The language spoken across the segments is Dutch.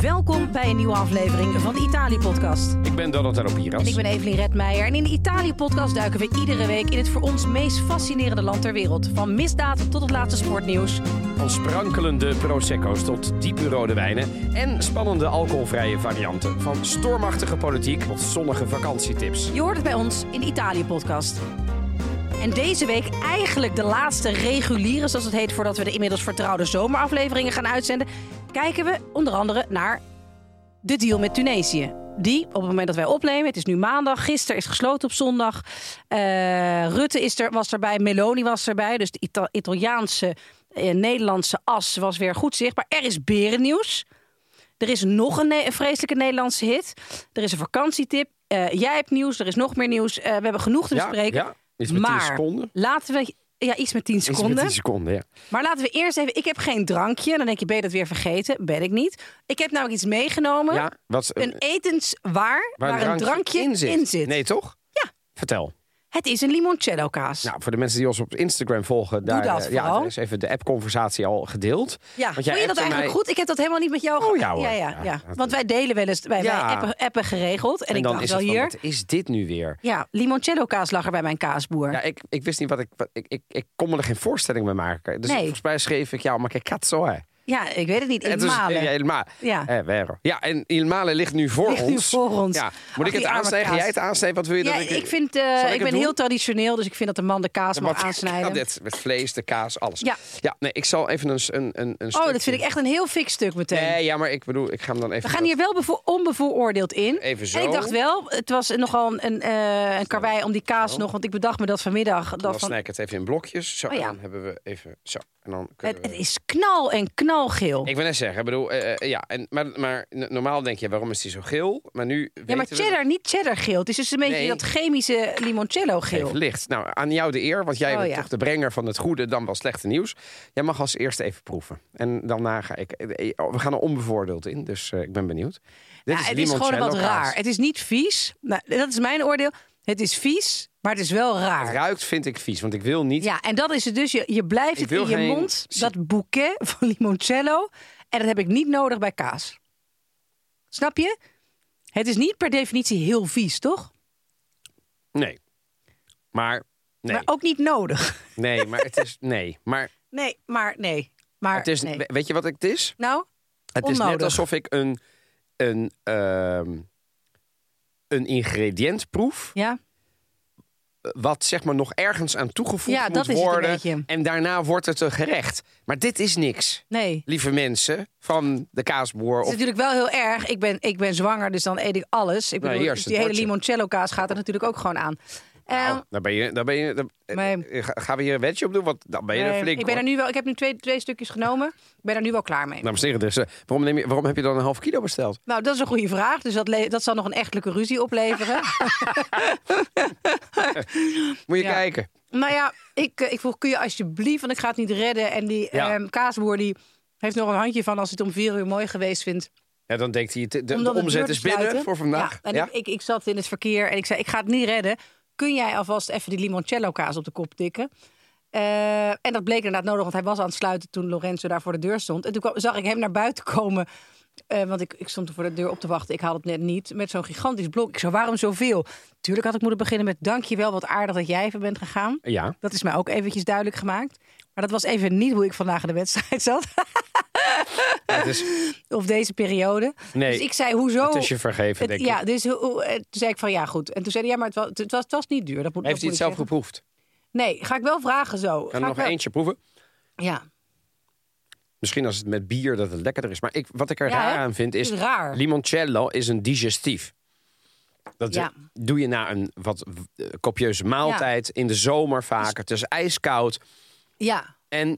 welkom bij een nieuwe aflevering van de Italië-podcast. Ik ben Donald Aropiras. En ik ben Evelien Redmeijer. En in de Italië-podcast duiken we iedere week in het voor ons meest fascinerende land ter wereld. Van misdaad tot het laatste sportnieuws. Van sprankelende prosecco's tot diepe rode wijnen. En spannende alcoholvrije varianten. Van stormachtige politiek tot zonnige vakantietips. Je hoort het bij ons in de Italië-podcast. En deze week eigenlijk de laatste reguliere, zoals het heet, voordat we de inmiddels vertrouwde zomerafleveringen gaan uitzenden, kijken we onder andere naar de deal met Tunesië. Die, op het moment dat wij opnemen, het is nu maandag, gisteren is gesloten op zondag. Eh, Rutte is er, was erbij, Meloni was erbij. Dus de Ita- Italiaanse, eh, Nederlandse as was weer goed zichtbaar. Er is berennieuws. Er is nog een, ne- een vreselijke Nederlandse hit. Er is een vakantietip. Eh, jij hebt nieuws, er is nog meer nieuws. Eh, we hebben genoeg te Ja, bespreken. ja. Iets met 10 maar seconden. laten we... Ja, iets met 10 Is met seconden. 10 seconden, ja. Maar laten we eerst even... Ik heb geen drankje. Dan denk je, ben je dat weer vergeten? Ben ik niet. Ik heb namelijk iets meegenomen. ja eh, wat, Een etenswaar waar, een drankje in zit. Nee, toch? Ja. Vertel. Het is een limoncello kaas. Nou, voor de mensen die ons op Instagram volgen, daar, dat eh, ja, vooral. er is even de app-conversatie al gedeeld. ja, Want vond jij je dat appte eigenlijk mij- goed? Ik heb dat helemaal niet met jou Oh, ge- ja, hoor. ja, ja, Ja, ja. dat- Want wij delen wel eens, wij, Ja. wij appen, appen geregeld. En, En ik dan dacht is wel het van, hier. wat is dit nu weer? Ja, limoncello kaas lag er bij mijn kaasboer. Ja, ik, ik wist niet wat ik, wat- ik, ik... Ik kon me er geen voorstelling mee maken. Dus Nee. volgens mij schreef ik, ja, maar che cazzo hè. Ja, ik weet het niet. In Het is- Malen. Ja, Il Male. Ja. Eh, vero. Ja, en Il Male ligt nu voor Ligt nu ons. voor ons. Ja. Ach, Moet ik het die arme aansnijden? kaas. Jij het aansnijden? Wat wil je Ja, dat ik... ik, vind, eh, Zal ik, het ben doen? heel traditioneel, dus ik vind dat de man de kaas mag Wat- aansnijden. Ja, dit, met vlees, de kaas, alles. Ja. nee, ik zal even een, s- een, een, een Oh, stukje- dat vind ik echt een heel fik stuk meteen. Nee, ja, maar ik bedoel, ik ga hem dan even... We gaan hier wel bevo- onbevooroordeeld in. Even zo. En ik dacht wel, het was nogal een, een, eh, een karwei om die kaas nog. Want ik bedacht me dat vanmiddag. Dan Dat van, Oh, snij ik het even in blokjes. Zo, ja. en dan hebben we even... Zo, en dan kunnen het, we... het is knal en knalgeel. Ik wil net zeggen, ik bedoel, eh, eh, ja, en, maar, maar n- normaal denk je, waarom is die zo geel? Maar nu ja, maar cheddar, niet cheddar geel. Het is dus een beetje Nee. dat chemische limoncello geel. Even licht. Nou, aan jou de eer, want jij Oh, bent ja. toch de brenger van het goede, dan wel slechte nieuws. Jij mag als eerste even proeven. En daarna ga ik... eh, eh, We gaan er onbevoordeeld in, dus eh, ik ben benieuwd. Dit Ja, het is gewoon wat limoncello kaas. raar. Het is niet vies. Nou, dat is mijn oordeel. Het is vies, maar het is wel Het raar. ruikt vind ik vies, want ik wil niet... Ja, en dat is het dus. Je, je blijft Ik het wil in je geen mond, ci- dat bouquet van limoncello. En dat heb ik niet nodig bij kaas. Snap je? Het is niet per definitie heel vies, toch? Nee. Maar... Nee, Maar oh. ook niet nodig. nee, maar het is... Nee, maar Nee, maar nee. Maar het is... nee. we- Weet je wat het is? Nou, Het is net Onnodig. alsof ik een... een ehm, een ingrediënt proef, ja. wat zeg maar nog ergens aan toegevoegd Ja, moet dat is het een worden. beetje. en daarna wordt het een gerecht. Maar dit is niks. Nee. lieve mensen van de kaasboer. Het Of, is natuurlijk wel heel erg. Ik ben, ik ben zwanger, dus dan eet ik alles. Ik Nou, bedoel, hier is dus het die hele bordje. limoncello kaas gaat er natuurlijk ook gewoon aan. Ehm, nou, daar ben je. Daar ben je daar- eh, Nee. eh, ga- gaan we hier een wedje op doen? Want dan ben je eh, er flink. ik ben er hoor. nu wel. Ik heb nu twee, twee stukjes genomen. Ik ben er nu wel klaar mee. Dames en heren, dus, eh, waarom, neem je, waarom heb je dan een half kilo besteld? Nou, dat is een goede vraag. Dus dat, le- dat zal nog een echtelijke ruzie opleveren. Moet je Ja. kijken. nou ja, ik, eh, ik vroeg, kun je alsjeblieft, want ik ga het niet redden. En die Ja. ehm, kaasboer die heeft nog een handje van als hij het om vier uur mooi geweest vindt. Ja, dan denkt hij, de, de Om dan de deur omzet te is binnen sluiten. voor vandaag. Ja, Ja, en Ik, ik, ik zat in het verkeer en ik zei, ik ga het niet redden. Kun jij alvast even die limoncello kaas op de kop tikken? Eh, en dat bleek inderdaad nodig, want hij was aan het sluiten toen Lorenzo daar voor de deur stond. En toen kwam- zag ik hem naar buiten komen, eh, want ik, ik stond er voor de deur op te wachten. Ik haalde het net niet, met zo'n gigantisch blok. Ik zo, waarom zoveel? Tuurlijk had ik moeten beginnen met dankjewel, wat aardig dat jij even bent gegaan. Ja. Dat is mij ook eventjes duidelijk gemaakt. Maar dat was even niet hoe ik vandaag in de wedstrijd zat. het, is, of deze periode. Nee, dus ik zei, hoezo? het is je vergeven, Het- denk ik. ja, dus hoe- hoe- eh, toen zei ik van ja, goed. En toen zei hij, ja, maar het was, het was, het was niet duur. Dat moet, Heeft hij dat het moet ik zelf geproefd? zeggen. Nee, ga ik wel vragen zo. Ga Kan ik er nog wel- eentje proeven? Ja. Misschien als het met bier dat het lekkerder is. Maar ik, wat ik er Ja, raar hè? aan vind is... Het is raar. limoncello is een digestief. Dat Ja. doe je na een wat eh, kopieuze maaltijd. In de zomer Dus vaak. Het is ijskoud. ja, En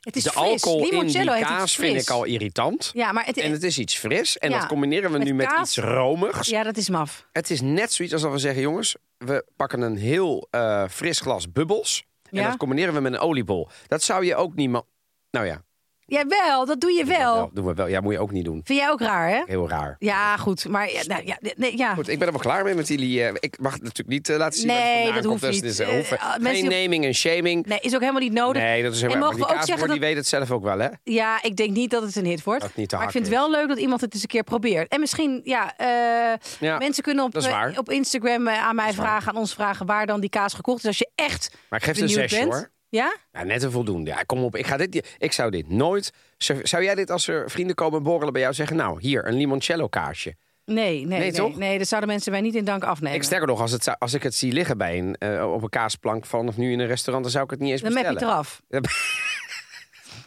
het is de fris. alcohol in die Limoncello heeft iets kaas vind fris. ik al irritant. Ja, maar het, En het is iets fris. En Ja. dat combineren we Met nu met kaas. iets romigs. ja, dat is maf. Het is net zoiets alsof we zeggen... jongens, we pakken een heel eh, fris glas bubbels. En Ja. dat combineren we met een oliebol. Dat zou je ook niet... ma- Nou ja, Jawel, dat doe je wel. Nou, doen we wel. Ja, moet je ook niet doen. Vind jij ook raar, hè? Heel raar. Ja, goed. Maar ja, nou, ja, nee, ja. Goed, ik ben er wel klaar mee met jullie. eh, ik mag natuurlijk niet eh, laten zien Nee, waar ik vandaan dat kom. hoeft is- niet. is- Eh, hoeven- eh, mensen Nou, Geen die- naming en shaming. Nee, is ook helemaal niet nodig. Nee, dat is helemaal En mogen maar we die ook zeggen kaasboer, dat... die weet het zelf ook wel, hè? Ja, ik denk niet dat het een hit wordt. Dat het niet te maar ik hakken vind het wel leuk dat iemand het eens een keer probeert. En misschien, ja, eh, Ja, mensen kunnen op, dat is eh, waar. op Instagram eh, aan mij is waar. vragen, aan ons vragen, waar dan die kaas gekocht is. Als je echt Maar ik geef het een benieuwd zesje, bent. hoor. Ja? Ja, net een voldoende. Ja, kom op, ik, ga dit, ik zou dit nooit... Zou zou jij dit als er vrienden komen borrelen bij jou zeggen... nou, hier, een limoncello kaasje. Nee, nee, nee. Nee, toch? dat zouden mensen mij niet in dank afnemen. Ik sterker nog, als, het, zou- als ik het zie liggen bij een, eh, op een kaasplank vanaf nu in een restaurant... dan zou ik het niet eens dan map je bestellen. het eraf.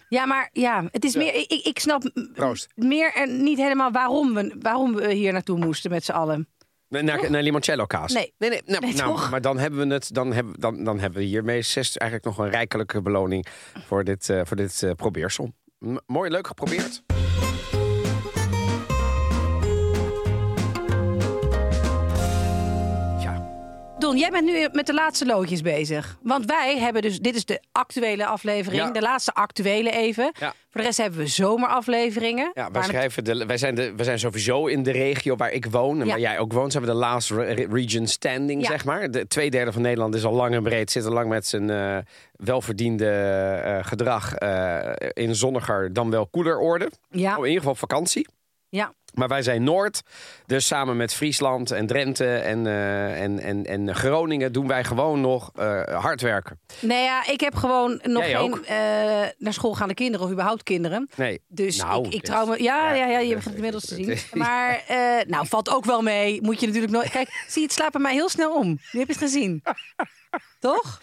Ja, maar ja, het is meer. Ik, ik- ik snap m- Proost. meer en niet helemaal waarom we, waarom we hier naartoe moesten met z'n allen. Naar, naar limoncello kaas? Nee. Nee, nee, nou, Nee, nou, toch? maar dan hebben we het. Dan hebben, we- dan, dan hebben we hiermee zes, eigenlijk nog een rijkelijke beloning voor dit, eh, voor dit eh, probeersel. M- mooi, leuk geprobeerd. Ja, Don, jij bent nu met de laatste loodjes bezig. Want wij hebben dus. Dit is de actuele aflevering. Ja. De laatste actuele even. Ja. Voor de rest hebben we zomerafleveringen. ja wij, Waar- schrijven de, wij, zijn de, wij zijn sowieso in de regio waar ik woon en Ja. waar jij ook woont. Zijn we de last re- re- region standing, Ja. zeg maar. De twee derde van Nederland is al lang en breed, zit al lang met zijn eh, welverdiende eh, gedrag eh, in zonniger dan wel koeler orde. ja, Oh, in ieder geval op vakantie. ja. Maar wij zijn Noord, dus samen met Friesland en Drenthe en, eh, en, en, en Groningen doen wij gewoon nog eh, hard werken. Nee, ja, ik heb gewoon nog Jij ook? geen eh, naar school gaande kinderen of überhaupt kinderen. Nee, Dus nou, ik, ik dit- trouw me. Ja, ja, ja, ja, je dit- begint het inmiddels te dit- zien. Maar eh, nou, valt ook wel mee. Moet je natuurlijk nooit. Kijk, zie je, het slaapt bij mij heel snel om. Nu heb je het gezien. Toch?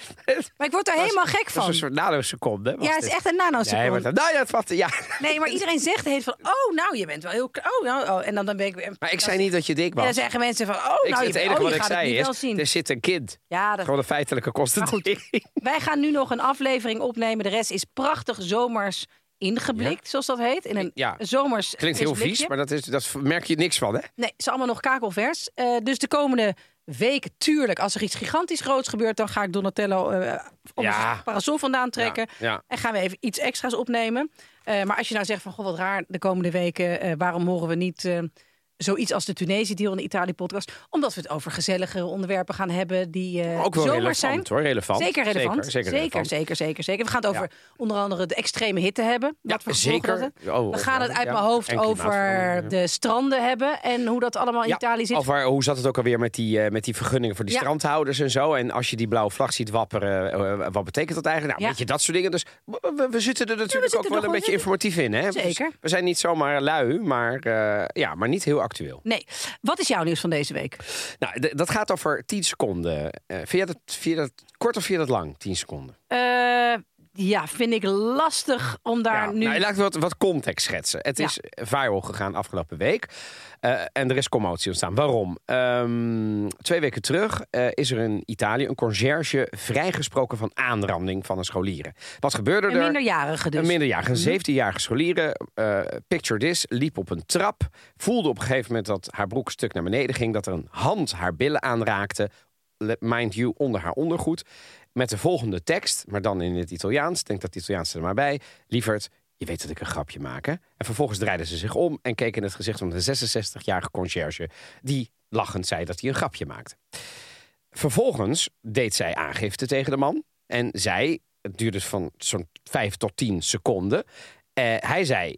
Maar ik word er helemaal gek dat is van. een soort nanoseconde. was Ja, het dit. is echt een nanoseconde. Nee, maar, dat- nou ja, het valt- ja. Nee, maar iedereen zegt heet van, oh, nou, je bent wel heel... kle- Oh, nou, oh. En dan, dan ben ik weer... maar ik zei niet dat je dik En was. dan zeggen mensen van, oh, Ik- nou, je, het bent- enige oh, wat je ik gaat het zei niet wel is, zien. er zit een kind. Ja, dat, Gewoon de feitelijke kosten. Maar goed. wij gaan nu nog een aflevering opnemen. De rest is prachtig zomers ingeblikt, zoals dat heet. In een Ja. zomers... Klinkt heel fris blikje. vies, maar dat, is, dat merk je niks van, hè? Nee, ze allemaal nog kakelvers. Eh, dus de komende week, tuurlijk, als er iets gigantisch groots gebeurt... dan ga ik Donatello eh om Ja. zijn parasol vandaan trekken. Ja, ja. En gaan we even iets extra's opnemen. Eh, maar als je nou zegt van, goh, wat raar, de komende weken... eh, waarom horen we niet eh, zoiets als de Tunesië-deal in de Italië-podcast? Omdat we het over gezelligere onderwerpen gaan hebben die eh Ook wel relevant, zomers zijn. hoor. Relevant. Zeker relevant. Zeker, zeker zeker, relevant. zeker, zeker, zeker. We gaan het over onder andere de extreme hitte hebben. Wat voor gevolgen zeker. dat heeft. Oh, we gaan het uit ja. mijn hoofd En klimaatverandering, over ja. de stranden hebben en hoe dat allemaal in Ja, oh. Italië zit. Of waar- hoe zat het ook alweer met die, eh, met die vergunningen voor die Ja. strandhouders en zo? En als je die blauwe vlag ziet wapperen, eh, eh, wat betekent dat eigenlijk? Nou, Ja. weet je, dat soort dingen. Dus we, we- we zitten er natuurlijk zitten ook er wel nog een wel beetje in. informatief in. Hè? Zeker. Dus we zijn niet zomaar lui, maar, eh, ja, maar niet heel actueel. Nee, wat is jouw nieuws van deze week? Nou, d- dat gaat over 10 seconden. Eh, vind, je dat, vind je dat kort of vind je dat lang, 10 seconden? Eh, ja, vind ik lastig om daar Ja, nu. nou, laat ik wat, wat context schetsen. Het Ja. is viral gegaan afgelopen week. Eh, en er is commotie ontstaan. Waarom? Ehm, twee weken terug eh, is er in Italië een conciërge vrijgesproken van aanranding van een scholieren. Wat gebeurde een er? minderjarige dus. Een minderjarige, een 17-jarige scholieren, eh, picture this, liep op een trap. Voelde op een gegeven moment dat haar broek een stuk naar beneden ging. Dat er een hand haar billen aanraakte. Let- Mind you, onder haar ondergoed. Met de volgende tekst, maar dan in het Italiaans. Ik Denk dat het Italiaans er maar bij. Lieverd, je weet dat ik een grapje maak, hè? En vervolgens draaide ze zich om en keek in het gezicht van de 66-jarige conciërge. Die lachend zei dat hij een grapje maakte. Vervolgens deed zij aangifte tegen de man. En zij, het duurde dus van zo'n 5 tot 10 seconden. Eh, hij zei: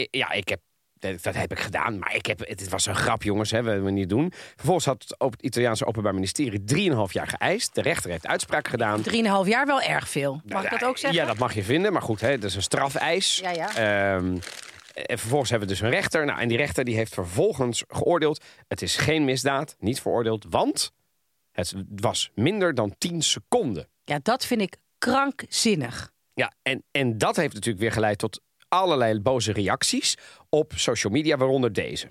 "I- Ja, ik heb. Dat dat heb ik gedaan, maar ik heb, het het was een grap, jongens, hè, we willen het niet doen. Vervolgens had het, op het Italiaanse Openbaar Ministerie 3,5 jaar geëist. De rechter heeft uitspraak gedaan. Drieënhalf jaar wel erg veel. Mag ik dat ook zeggen? Nou Ja, dat mag je vinden, maar goed, hè, dat is een strafeis. Ja, ja. Ehm, en vervolgens hebben we dus een rechter. Nou, en die rechter die heeft vervolgens geoordeeld: het is geen misdaad, niet veroordeeld, want het was minder dan 10 seconden. Ja, dat vind ik krankzinnig. Ja, en, en dat heeft natuurlijk weer geleid tot allerlei boze reacties op social media, waaronder deze.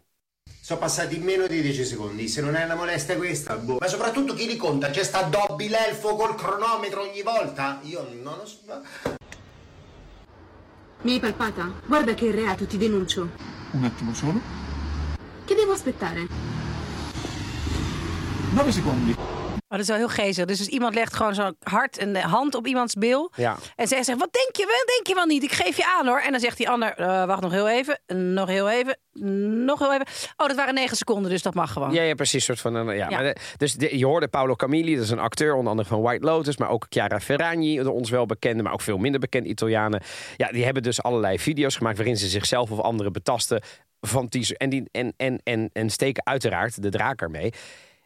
Sono passati meno di 10 secondi, se non è una molestia questa, boh. Ma soprattutto chi li conta? C'è sta Dobby l'elfo col cronometro ogni volta? Io non lo so. Mi hai palpata? Guarda che reato ti denuncio. Un attimo solo. Che devo aspettare? 9 secondi. Maar dat is wel heel geestig. Dus, dus iemand legt gewoon zo'n hart en hand op iemands bil. Ja. En zij zegt, wat denk je wel, denk je wel niet? Ik geef je aan hoor. En dan zegt die ander, "Eh, wacht nog heel even, nog heel even, nog heel even. Oh, dat waren negen seconden, dus dat mag gewoon. Ja, ja, precies. Soort van, een- ja. Maar de- dus de- je hoorde Paolo Camilli, dat is een acteur, onder andere van White Lotus, maar ook Chiara Ferragni, de ons wel bekende, maar ook veel minder bekende Italianen. Ja, die hebben dus allerlei video's gemaakt waarin ze zichzelf of anderen betasten van teaser. En, die, en, en, en, en steken uiteraard de draak ermee.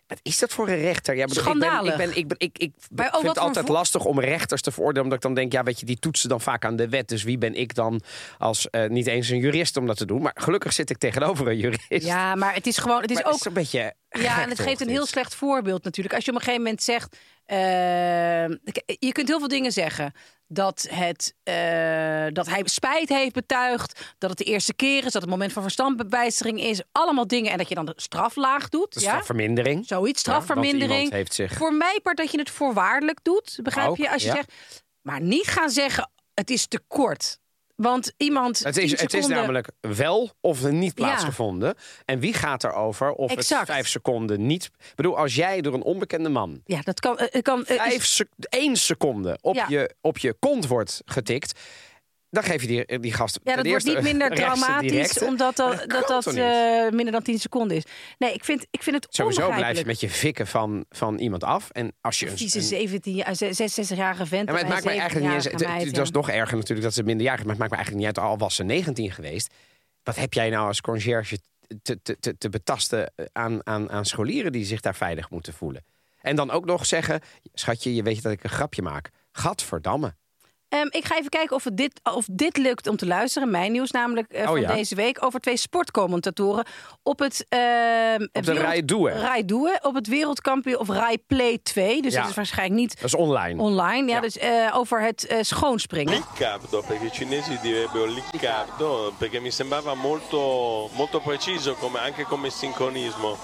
Wat is dat voor een rechter? Ja, ik bedoel, ik ben, ik, Schandalig. ben, ik, ben- ik, ik Maar ook vind wat het voor altijd vo- lastig om rechters te veroordelen. Omdat ik dan denk, ja, weet je, die toetsen dan vaak aan de wet. Dus wie ben ik dan als eh, niet eens een jurist om dat te doen? Maar gelukkig zit ik tegenover een jurist. Ja, maar het is gewoon, het is Maar ook een beetje. Ja, en gek het toch, geeft een dit? heel slecht voorbeeld natuurlijk. Als je op een gegeven moment zegt. eh, k- je kunt heel veel dingen zeggen. Dat, het, eh, dat hij spijt heeft betuigd. Dat het de eerste keer is. Dat het moment van verstandbewijziging is. Allemaal dingen. En dat je dan de straflaag doet. De ja? strafvermindering. Zoiets, Ja, want strafvermindering. iemand heeft zich- Voor mij part dat je het voorwaardelijk doet. Begrijp Ook, je? Als je ja. zegt. Maar niet gaan zeggen: het is te kort. Want iemand. Het is, 10 het is seconden- namelijk wel of er niet Ja. plaatsgevonden. En wie gaat erover of Exact. het vijf seconden niet... Ik bedoel, als jij door een onbekende man Ja, dat kan. eh, kan eh, is- vijf sec- één seconde op, Ja. je, op je kont wordt getikt... dan geef je die, die gast Ja, ten dat wordt eerste niet minder een rechtse traumatisch directe. omdat Maar dat, dat, kan dat, toch niet? eh, minder dan 10 seconden is. Nee, ik vind, ik vind het Sowieso blijf je onbegrijpelijk. met je fikken van, van iemand af. En als je een, Vieze eh, een- 17 jaar, 66-jarige vent. eh, Ja, maar het maakt mij eigenlijk niet eens. het- het- Dat is nog... nog erger natuurlijk dat ze minderjarig is. Maar het maakt me eigenlijk niet uit. Al was ze 19 geweest. Wat heb jij nou als conciërge te, te, te, te betasten eh, aan, aan, aan scholieren die zich daar veilig moeten voelen? En dan ook nog zeggen: Schatje, je weet dat ik een grapje maak. Gadverdamme. Ehm, ik ga even kijken of, het dit, of dit lukt om te luisteren. Mijn nieuws namelijk eh, Oh, van ja. deze week over twee sportcommentatoren op het... ehm op Rai Doe. op het wereldkampioen of Rai Play 2. Dus Ja. dat is waarschijnlijk niet Dat is online. online. Ja, Ja. Dus eh, over het eh, schoonspringen. Liccardo, perché i cinesi direbbero Liccardo, perché mi sembrava molto, molto preciso come- anche come sincronismo.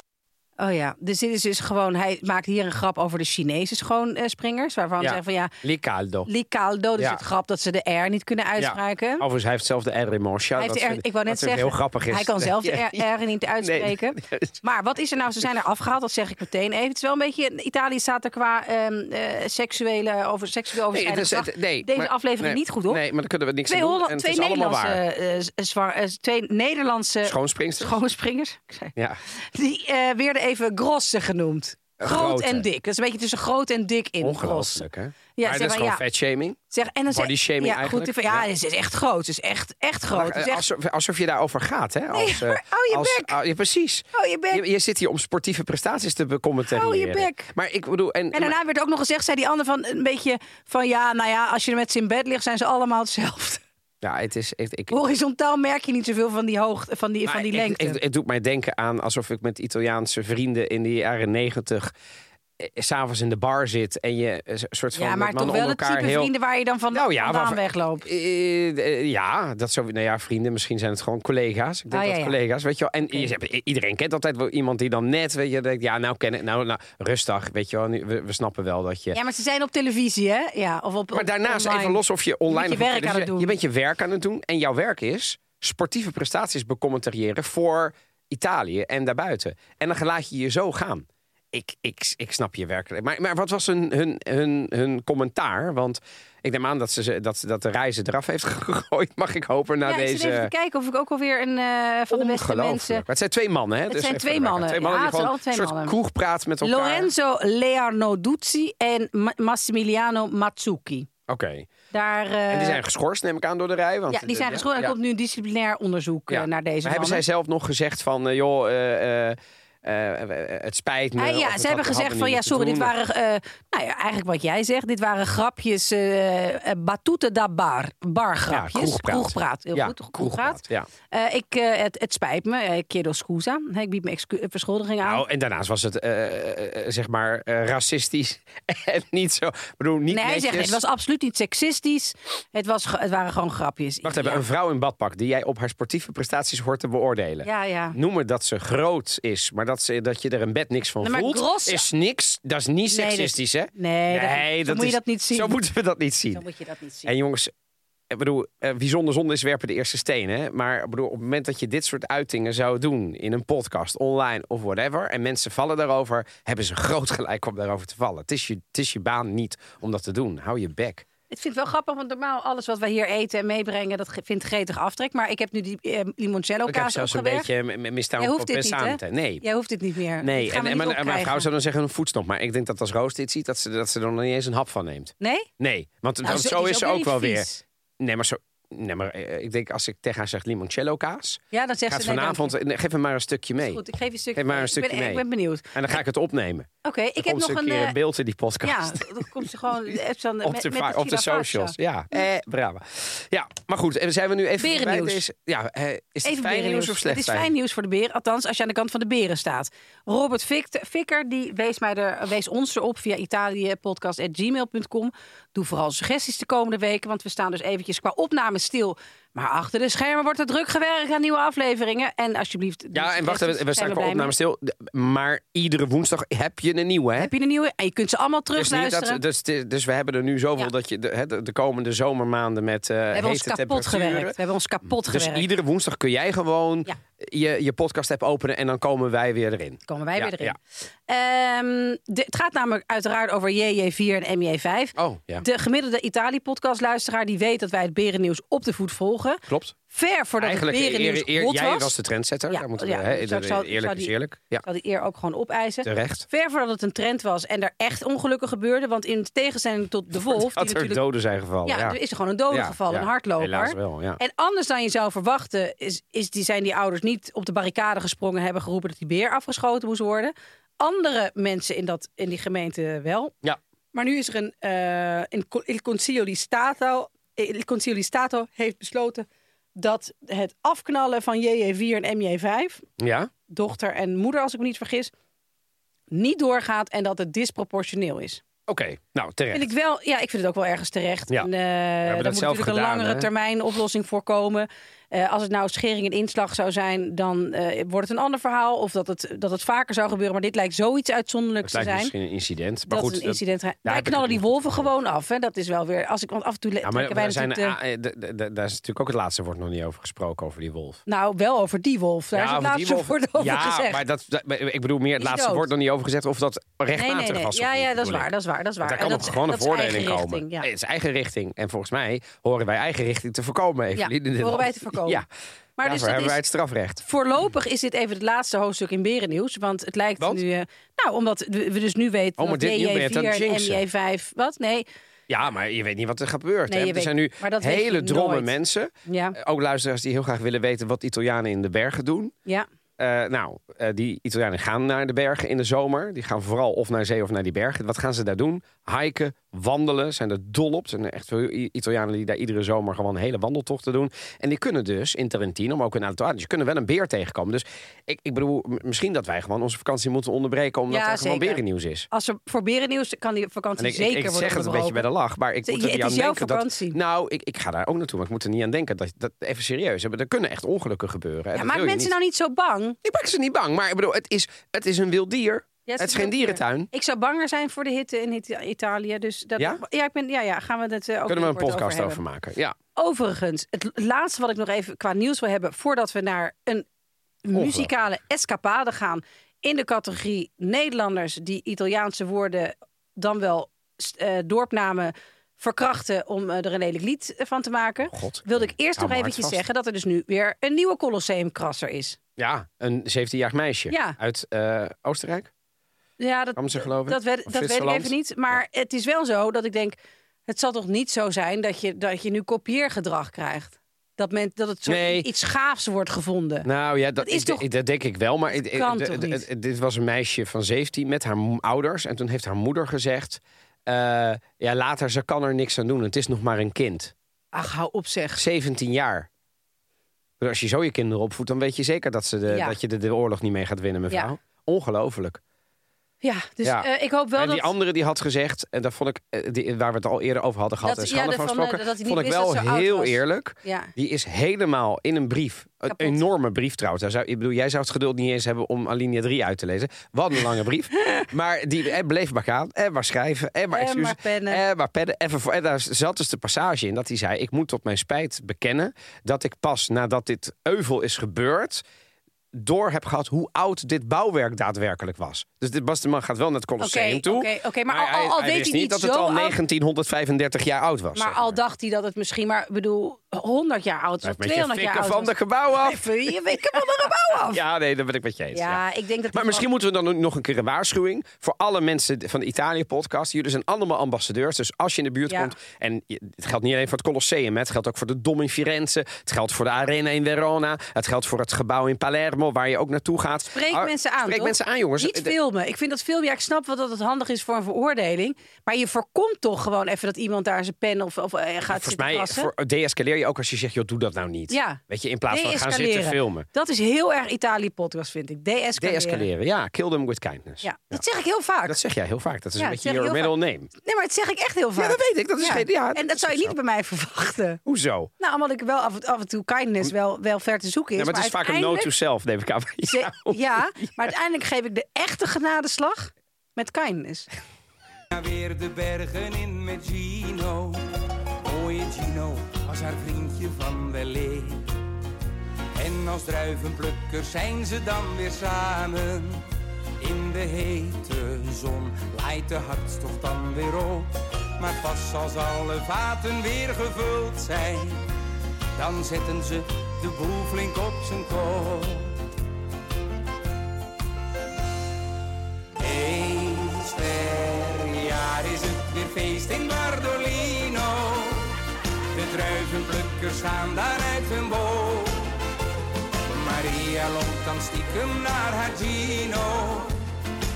Oh ja, dus dit is dus gewoon, hij maakt hier een grap over de Chinese schoonspringers. Waarvan ze zeggen van ja, Licaldo. Li Caldo, dus Ja. het grap dat ze de R niet kunnen uitspreken. Ja. Overigens, hij heeft zelf de R in Morsha. Hij heeft de R, ik wou net zeggen, heel grappig is. hij kan zelf de Ja. R, R niet uitspreken. Nee, nee. Maar wat is er nou? Ze zijn er afgehaald, dat zeg ik meteen even. Het is wel een beetje, Italië staat er qua ehm, eh, seksuele, over, seksueel Nee, het overschrijdend is- dus het- gedrag nee, Deze maar- aflevering nee, niet goed, hoor. Nee, maar dan kunnen we niks aan Twee, doen. Holland- En het twee, is allemaal Nederlandse, waar. eh, z- zwar- eh, twee Nederlandse Schoonspringsters. schoonspringers. Ik zei- Ja. Die eh, werden even grosse genoemd. Eh, Groot grote. en dik. Dat is een beetje tussen groot en dik in. Gros. Ongelooflijk, hè? zeg maar dat maar, is gewoon ja. vetshaming. Zeg, en dan zeg- Body shaming ja, eigenlijk. Goed, ja, Ja. het is echt groot. Het is echt, echt groot. Maar, Oh, Het is eh, echt- alsof, alsof je daarover gaat, hè? Als, eh, maar hou je als- bek. ah, ja, precies. Hou Oh, je bek. Je, je zit hier om sportieve prestaties te becommentariëren. Hou je bek. Maar ik bedoel... En, En daarna werd ook nog gezegd, zei die ander van een beetje van ja, nou ja, als je met ze in bed ligt, zijn ze allemaal hetzelfde. ja, het is... Ik, ik, Horizontaal merk je niet zoveel van die hoogte, van die, van maar die ik- lengte. ik- Het doet mij denken aan alsof ik met Italiaanse vrienden in de jaren negentig... eh, s'avonds in de bar zit en je eh, een soort van... ja, met maar mannen toch wel onder het elkaar type heel... vrienden waar je dan van Nou ja, vandaan waarvan- wegloopt. Eh, eh, ja, dat zo, nou ja, vrienden, misschien zijn het gewoon collega's. Ik denk Ah, dat ja, ja. collega's, weet je wel. En je hebt- i- iedereen kent altijd wel iemand die dan net, weet je, denkt, ja, nou ken ik, nou, nou rustig, weet je wel. nu- we, we snappen wel dat je... Ja, maar ze zijn op televisie, hè? Ja, of op, maar op daarnaast, online. even los of je online... Je bent of- je werk aan je- het doen. Je bent je werk aan het doen en jouw werk is sportieve prestaties becommentariëren voor Italië en daarbuiten. En dan laat je je zo gaan. Ik, ik, ik snap je werkelijk. Maar, maar wat was hun, hun, hun, hun commentaar? Want ik neem aan dat, ze, ze- dat, ze- dat de reizen eraf heeft gegooid. Mag ik hopen na Ja, ik zit deze... even te kijken of ik ook alweer een eh, van de beste Ongelooflijk. mensen... Maar het zijn twee mannen, hè? Het zijn twee mannen. Twee mannen Ja, die het gewoon zijn een wel twee soort mannen. kroegpraat met elkaar. Lorenzo Learnoduzzi en Ma- Massimiliano Mazzucchi. Oké. Daar, eh, En die zijn geschorst, neem ik aan, door de rij. Want ja, die zijn ja, geschorst. Er ja. komt nu een disciplinair onderzoek eh, Ja. naar Maar deze hebben zij mannen. zelf nog gezegd van, eh, joh, eh, eh, eh, eh, het spijt me. Ah, of ja, het ze hebben had- gezegd hadden van niet ja, moeten sorry, dit doen. waren, eh, nou ja, eigenlijk wat jij zegt, dit waren grapjes, eh eh, battute da bar, bar grapjes. kroegpraat. heel Ja, goed, kroegpraat. kroegpraat, ja. Eh, ik, eh, het, het spijt me, eh, chiedo scusa, Hè, ik bied mijn excu- eh, verschuldiging aan. Nou, en daarnaast was het, eh, eh, zeg maar, eh, racistisch. en niet zo, ik bedoel, niet nee, hij netjes. zegt, het was absoluut niet seksistisch, het, was, ge- het waren gewoon grapjes. Wacht even, Ja. een vrouw in badpak die jij op haar sportieve prestaties hoort te beoordelen. Ja, ja. Noemen dat ze groot is, maar dat, ze, dat je er in bed niks van Nee, maar voelt, gros- is niks. Dat is niet Nee, dat- seksistisch, hè? nee, dat- zo moet je is- dat niet zien. Zo moeten we dat niet zien. Dan moet je dat niet zien. En jongens, ik bedoel, eh, wie zonder zonde is, werpen de eerste steen. Hè? Maar ik bedoel, op het moment dat je dit soort uitingen zou doen in een podcast, online of whatever, en mensen vallen daarover, hebben ze groot gelijk om daarover te vallen. Het is je, het is je baan niet om dat te doen. Hou je bek. Ik vind het wel grappig, want normaal alles wat wij hier eten en meebrengen, dat ge- vindt gretig aftrek. Maar ik heb nu die eh, limoncello Ik heb kaas zelfs een opgewerkt. beetje m- m- Jij misdaan hoeft op dit niet, hè? te Nee. Jij hoeft dit niet meer. Nee, Dit gaan en, we niet en mijn, en mijn opkrijgen. vrouw zou dan zeggen een voetsnop. Maar ik denk dat als Roos dit ziet, dat ze, dat ze er nog niet eens een hap van neemt. Nee? Nee, want Nou, want zo- zo, die is ze ook niet wel weer. vies. Nee, maar, zo, nee, maar eh, ik denk als ik tegen haar zeg limoncello kaas... Ja, dan zegt Gaat ze nee, dank je. vanavond, nee, geef hem maar een stukje mee. Goed, ik geef je een stukje. Geef maar een ik ben- stukje mee. Ik ben benieuwd. Oké, En dan ga ik het opnemen. ik Ik heb komt nog ze een een. keer eh, in beeld in die ja, podcast. dan komt ze gewoon. de apps aan- op met- de, met va- op de gila socials. pasta. Ja, eh, bravo. Ja, maar goed, en zijn we nu even Berennieuws. bij deze- Ja, eh, is het Even fijn nieuws of slecht Het is fijn nieuws voor de beren, althans als je aan de kant van de beren staat. Robert Vikt- Vikker die wees, mij er, wees ons erop via italiëpodcast.gmail.com. Doe vooral suggesties de komende weken, want we staan dus eventjes qua opname stil. Maar achter de schermen wordt er druk gewerkt aan nieuwe afleveringen. En alsjeblieft... doe Ja, en wacht, suggesties, we, zijn we staan we qua blij mee. opname stil. D- Maar iedere woensdag heb je een nieuwe, hè? Heb je een nieuwe? En je kunt ze allemaal Dus, niet terugluisteren. dat, dus, het is- dus we hebben er nu zoveel Ja. dat je de, hè, de, de komende zomermaanden met eh we hebben ons hete kapot temperaturen. gewerkt. We hebben ons kapot Dus gewerkt. iedere woensdag kun jij gewoon Ja. je, je podcast app openen en dan komen wij weer erin. Komen wij Ja, weer erin. ja. Ehm, de- het gaat namelijk uiteraard over JJ4 en MJ5. Oh, ja. De gemiddelde Italië-podcastluisteraar die weet dat wij het berennieuws op de voet volgen. Klopt. Ver voordat Eigenlijk, het eer, berennieuws eer, eer- hot jij was. was. de trendsetter. Ja, Daar moeten ja, we, hè, dus ik de- zou- de- eerlijk zou is die- eerlijk. Ja, Ik zal die eer ook gewoon opeisen. terecht. Ver voordat het een trend was en er echt ongelukken gebeurden. Want in tegenstelling tot de wolf... Dat die er natuurlijk doden zijn gevallen. ja, Ja, er is er gewoon een dode Ja, gevallen, ja. een hardloper. Helaas wel, ja. En anders dan je zou verwachten, is, is die, zijn die ouders niet op de barricade gesprongen en hebben geroepen dat die beer afgeschoten moest worden. Andere mensen in, dat, in die gemeente wel. Ja. Maar nu is er een. eh, in co- il, Consiglio di Stato, il Consiglio di Stato heeft besloten dat het afknallen van JJ4 en MJ5 Ja? dochter en moeder, als ik me niet vergis, niet doorgaat en dat het disproportioneel is. Oké, nou terecht. Vind ik wel, ja, ik vind het ook wel ergens terecht. Ja. En, eh, daar dat moet zelf natuurlijk een gedaan, langere hè? termijn oplossing voor komen. Eh, als het nou schering en inslag zou zijn, dan eh, wordt het een ander verhaal. Of dat het, dat het vaker zou gebeuren. Maar dit lijkt zoiets uitzonderlijks Het te lijkt zijn. misschien een incident. Maar dat goed, het een dat- incident. heb Wij ik knallen het die niet wolven gewoon af. Hè? Dat is wel weer. Als ik, want af en toe le- ja, trekken maar wij er zijn, natuurlijk de- ah, eh, d- d- d- daar is natuurlijk ook het laatste woord nog niet over gesproken, over die wolf. nou, wel over die wolf. Daar is het over die laatste wolf- woord over ja, gezegd. maar dat, dat- maar ik bedoel meer Die het is laatste dood. woord nog niet over gezegd of dat rechtmatig was. of Ja, niet, ja, dat is bedoel ik. waar. Dat is waar. Dat is waar. Want En dat daar kan op is- e- gewoon een dat is eigen veroordeling komen. richting, ja. Nee, het is eigen richting. En volgens mij horen wij eigen richting te voorkomen. Evelien, in dit horen land. wij te voorkomen. Ja, Maar maar dus dus dat hebben is- wij het strafrecht. Voorlopig is dit even het laatste hoofdstuk in Berennieuws. Want het lijkt Want? nu... eh, nou, omdat we we dus nu weten Oh, maar dat dit- nu ben je het JJ4 aan het en jinxen. MJ5... Wat? Nee. Ja, maar je weet niet wat er gebeurt. Nee, hè? je Er weet- zijn nu maar dat weet hele je dromme nooit. mensen. Ja, Eh, Ook luisteraars die heel graag willen weten wat Italianen in de bergen doen. ja. Eh, nou, eh, die Italianen gaan naar de bergen in de zomer. Die gaan vooral of naar zee of naar die bergen. Wat gaan ze daar doen? Hiken, wandelen. Zijn er dol op. Er zijn echt veel I- Italianen die daar iedere zomer gewoon hele wandeltochten doen. En die kunnen dus in Trentino, maar ook in Alto Adige, kunnen wel een beer tegenkomen. Dus ik, ik bedoel, m- misschien dat wij gewoon onze vakantie moeten onderbreken omdat Ja, er gewoon zeker. berennieuws is. Als er voor Berennieuws kan die vakantie En ik, ik- zeker ik worden zeg het een beetje onderbroken. bij de lach, maar ik Het- moet er het niet is aan jouw denken. Dat, vakantie. nou, ik, ik ga daar ook naartoe, maar ik moet er niet aan denken. Dat, dat, even serieus, hè, er kunnen echt ongelukken gebeuren. en Ja, dat maak wil je mensen niet. nou niet zo bang. Ik maak ze niet bang, maar ik bedoel, het is, het is een wild dier. Ja, het, is geen heel duur. dierentuin. Ik zou banger zijn voor de hitte in Ita- Italië. Dus dat, Ja? ik ben, ja, ja, gaan we het eh, ook Kunnen we een binnenkort podcast over, hebben. maken? Ja, Overigens, het l- laatste wat ik nog even qua nieuws wil hebben... voordat we naar een muzikale escapade gaan... in de categorie Nederlanders die Italiaanse woorden... dan wel st- eh, dorpnamen verkrachten om eh, er een lelijk lied eh, van te maken... Oh god. wilde ik eerst nog Hou mijn hart eventjes vast. zeggen... dat er dus nu weer een nieuwe Colosseumkrasser is. Ja, een 17-jarig meisje Ja. uit eh, Oostenrijk. Ja, dat, Kwam ze, geloof ik? dat, Of weet, dat weet ik Zwitserland? even niet. Maar het is wel zo dat ik denk... het zal toch niet zo zijn dat je, dat je nu kopieergedrag krijgt? Dat, men, dat het soort Nee. iets gaafs wordt gevonden. Nou ja, dat, Dat is ik- toch- ik- dat denk ik wel. Maar ik- kan ik- toch d- d- niet? d- dit was een meisje van 17 met haar m- ouders. En toen heeft haar moeder gezegd... eh, ja, later, ze kan er niks aan doen. Het is nog maar een kind. Ach, hou op zeg. 17 jaar. Dus Als je zo je kinderen opvoedt, dan weet je zeker dat, ze de, Ja. dat je de, de oorlog niet mee gaat winnen, mevrouw. Ja. Ongelooflijk. Ja, dus Ja. eh, ik hoop wel en dat... die andere die had gezegd, en daar vond ik, eh, die- waar we het al eerder over hadden gehad, Dat- en schande ja, van dat van, eh, gesproken, dat hij niet vond ik wist wel dat ze oud heel was. eerlijk. Ja. Die is helemaal in een brief, een Kapot. enorme brief trouwens. Daar zou, ik bedoel, jij zou het geduld niet eens hebben om Alinea 3 uit te lezen. Wat een lange brief. Maar die eh, bleef maar gaan, en maar schrijven, en maar En excuses, maar pennen. en maar pennen. En, vervo- en daar zat dus de passage in dat hij zei, ik moet tot mijn spijt bekennen dat ik pas nadat dit euvel is gebeurd, door heb gehad hoe oud dit bouwwerk daadwerkelijk was. Dus dit was de man gaat wel naar het Colosseum Oké, toe. oké, oké, maar al- al weet wist hij niet dat het zo al oud- 1935 jaar oud was. Maar zeg al dacht hij dat het misschien maar, ik bedoel, 100 jaar oud Blijf of met je 200 jaar oud fikken van de was. gebouw af. Even, je fikken van de gebouw af. Ja, Ja, nee, dat ben ik met je eens. ja. ik denk dat... Maar misschien moeten we dan nog een keer een waarschuwing voor alle mensen van de Italië-podcast. Jullie zijn allemaal ambassadeurs, dus als je in de buurt Ja. komt... en je- het geldt niet alleen voor het Colosseum, hè, het geldt ook voor de Dom in Firenze... het geldt voor de Arena in Verona, het geldt voor het gebouw in Palermo... waar je ook naartoe gaat. Spreek Ah, mensen aan, Spreek toch? mensen aan, jongens. Eh, Niet De- filmen. Ik vind dat filmen, ja, ik snap wel dat het handig is voor een veroordeling. Maar je voorkomt toch gewoon even dat iemand daar zijn pen of, of eh, gaat Volgens zitten mij krassen. voor, deescaleer je ook als je zegt, joh, doe dat nou niet. Ja. Weet je, in plaats van gaan Deescaleren. zitten filmen. Dat is heel erg Italië-podcast, vind ik. Deescaleren. Deescaleren, ja. Kill them with kindness. Ja, dat zeg ik heel vaak. Dat zeg jij heel vaak. Dat is Ja, een dat beetje zeg your ik heel middle name. Nee, maar dat zeg ik echt heel vaak. dat weet ik. Dat is geen- ja, en dat dat is zou je ook niet bij mij verwachten. Hoezo? Nou, omdat ik wel af, en- af en toe kindness wel, wel ver te zoeken is. Ja, maar het is vaak een no to uiteindelijk- self, neem ik aan. Ja, Ze- Ja, maar uiteindelijk geef ik de echte genadeslag met kindness. Ja, Weer de bergen in met Gino. Mooie Gino was haar vriendje van de lee. En als druivenplukkers zijn ze dan weer samen. In de hete zon laait de hartstocht dan weer op. Maar pas als alle vaten weer gevuld zijn, dan zetten ze de boel flink op zijn kop. Eens per jaar is het weer feest in Bardolino. De druivenplukkers gaan daar uit hun boom. Maria loopt dan stiekem naar haar Gino.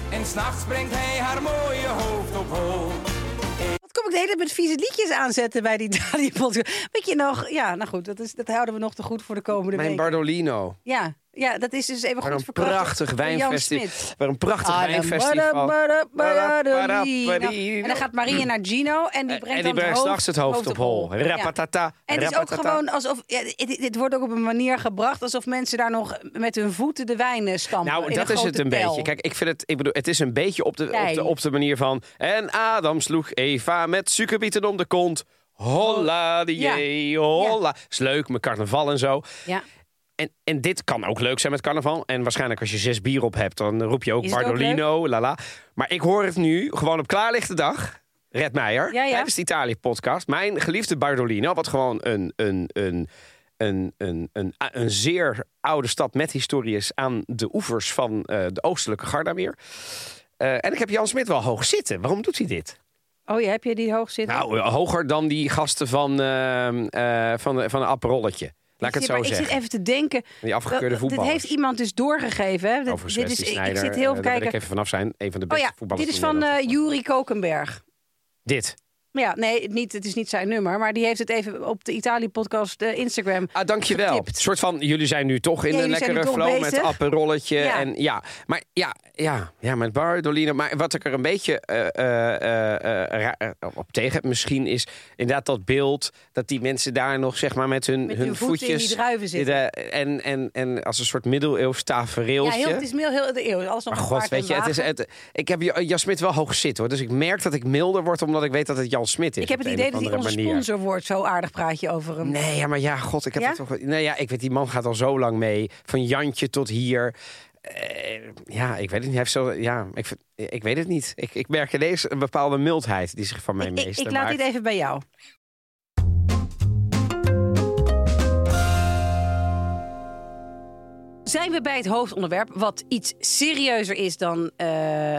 En s'nachts brengt hij haar mooie hoofd op hoog. Wat kom ik de hele tijd met vieze liedjes aanzetten bij die Italië podcast? Weet je nog? Ja, nou goed, dat, is, dat houden we nog te goed voor de komende Mijn week. Bardolino. ja, ja, dat is dus even goed Waar een verkracht prachtig door Jan wijnfestival. Smit. Waar een prachtig Ah, dan wijnfestival. bada, bada, bada, Baraparino. Bardolino. En dan gaat Maria naar Gino en die brengt, en die dan brengt het Eh, s'nachts het hoofd op hol. Ja. Rapatata. En het is ook rapatata. gewoon alsof. Ja, dit, dit wordt ook op een manier gebracht alsof mensen daar nog met hun voeten de wijn eh, stampen. Nou, in dat een is het grote een pijl. beetje. Kijk, ik vind het, ik bedoel, het is een beetje op de, op, Klein. de, op de manier van. En Adam sloeg Eva met suikerbieten om de kont. Holla, die Ja. jee, holla. Is leuk, mijn carnaval en zo. Ja. En, en dit kan ook leuk zijn met carnaval. En waarschijnlijk als je zes bier op hebt, dan roep je ook Is het ook Bardolino, lala. Maar ik hoor het nu, gewoon op klaarlichte dag. Red Meijer, Ja, ja. tijdens de Italië-podcast. Mijn geliefde Bardolino, wat gewoon een, een, een, een, een, een, een zeer oude stad met historie is... aan de oevers van eh, de oostelijke Gardameer. Eh, en ik heb Jan Smit wel hoog zitten. Waarom doet hij dit? Oh ja, heb je die hoog zitten? Nou, eh, hoger dan die gasten van, eh, eh, van, van een apparolletje. Laat ik het Zie, zo maar zeggen. Ik zit even te denken. Die afgekeurde Wel, Dit voetballers. heeft iemand dus doorgegeven. Hè? Dit- Overigens, dit is, Wesley ik, ik Sneijder, zit heel eh, even daar wil kijken. ik even vanaf zijn. Een van de Oh beste ja, voetballers dit is van eh Nederland. Juri Kokenberg. Dit. Ja, nee, niet, het is niet zijn nummer, maar die heeft het even op de Italië-podcast eh, Instagram. Ah, dankjewel. Getipt. Een soort van, jullie zijn nu toch in Ja, een jullie zijn lekkere nu toch flow met bezig. apperolletje. Ja. En ja, maar ja, ja, ja, met Bardolino. Maar wat ik er een beetje eh, eh, eh, eh, ra- eh, op tegen heb misschien is inderdaad dat beeld dat die mensen daar nog zeg maar met hun, Met hun hun voeten in voetjes die druiven zitten. in de- en, en, en als een soort middeleeuws Ja, tafereeltje. heel, het is heel, heel de eeuw. Alles nog Maar een god, paard en weet je, het is, wagen. het, ik heb Jan Jan Smit wel hoog zitten hoor. Dus ik merk dat ik milder word omdat ik weet dat het Jan Smit is. ik heb het op de idee een dat of hij andere onze manier. sponsor wordt. Zo aardig praat je over hem. Nee, ja, maar ja, god, ik heb Ja? het toch... Nee, ja, ik weet, die man gaat al zo lang mee. Van Jantje tot hier. Eh, ja, ik weet het niet. Hij heeft zo, ja, ik, vind- ik weet het niet. Ik, ik merk ineens een bepaalde mildheid die zich van mij Ik, ik, meester ik laat maakt. dit even bij jou. Zijn we bij het hoofdonderwerp, wat iets serieuzer is dan eh,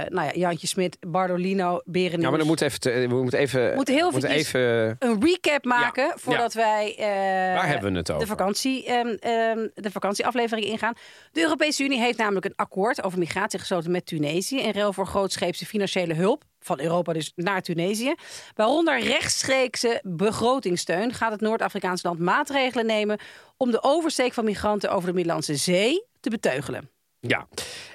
nou ja, Jantje Smit, Bardolino, Berenius. Ja, maar dan moet even... te- we moeten even... Moeten heel we moeten eventjes- even een recap maken Ja, voordat wij eh, Waar hebben we het over? De, vakantie, ehm, ehm, de vakantieaflevering ingaan. De Europese Unie heeft namelijk een akkoord over migratie gesloten met Tunesië. In ruil voor grootscheepse financiële hulp van Europa dus naar Tunesië. Waaronder rechtstreekse begrotingsteun gaat het Noord-Afrikaanse land maatregelen nemen... om de oversteek van migranten over de Middellandse Zee te beteugelen. Ja.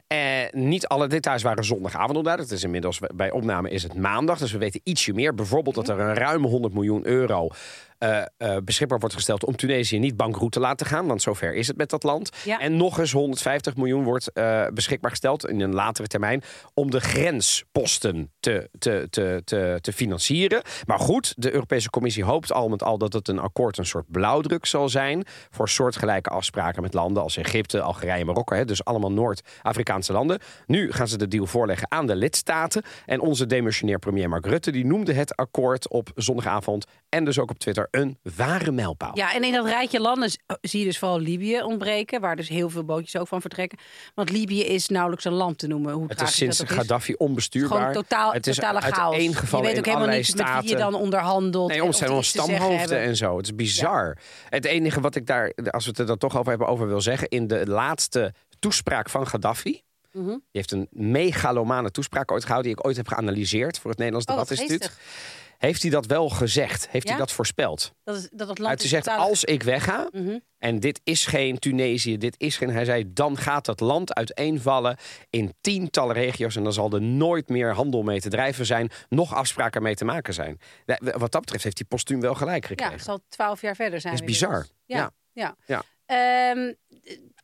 Eh, niet alle details waren zondagavond onduidelijk. Het is inmiddels bij opname is het maandag, dus we weten ietsje meer. Bijvoorbeeld dat er een ruim 100 miljoen euro eh, eh, beschikbaar wordt gesteld om Tunesië niet bankroet te laten gaan, want zover is het met dat land. Ja. En nog eens 150 miljoen wordt eh, beschikbaar gesteld in een latere termijn om de grensposten te, te, te, te, te financieren. Maar goed, de Europese Commissie hoopt al met al dat het een akkoord een soort blauwdruk zal zijn voor soortgelijke afspraken met landen als Egypte, Algerije en Marokko. Hè, dus allemaal Noord-Afrikaanse landen. Nu gaan ze de deal voorleggen aan de lidstaten. En onze demissionair premier Mark Rutte die noemde het akkoord op zondagavond en dus ook op Twitter een ware mijlpaal. Ja, en in dat rijtje landen z- zie je dus vooral Libië ontbreken, waar dus heel veel bootjes ook van vertrekken. Want Libië is nauwelijks een land te noemen. Hoe Het is tragisch sinds dat ook is. Gaddafi onbestuurbaar. Gewoon totaal, het is totale chaos. uiteengevallen je weet ook helemaal in allerlei niet staten. met wie je dan onderhandelt. Nee, en om of zijn die allemaal iets te zeggen stamhoofden hebben. en zo. Het is bizar. Het enige wat ik daar, als we het er dan toch over hebben, over wil zeggen. In de laatste toespraak van Gaddafi. Mhm. Die heeft een megalomane toespraak ooit gehouden. die ik ooit heb geanalyseerd voor het Nederlands Oh, wat Debatinstituut. Heeft hij dat wel gezegd? Heeft Ja? hij dat voorspeld? Dat, is, dat het Hij land heeft is Mhm. gezegd, totaal- als ik wegga, en dit is geen Tunesië, dit is geen... Hij zei, dan gaat dat land uiteenvallen in tientallen regio's... en dan zal er nooit meer handel mee te drijven zijn... nog afspraken mee te maken zijn. Ja, Wat dat betreft heeft hij postuum wel gelijk Ja, gekregen. het zal twaalf jaar verder zijn. Dat is inmiddels. bizar. Ja. ja. Ja. Ehm,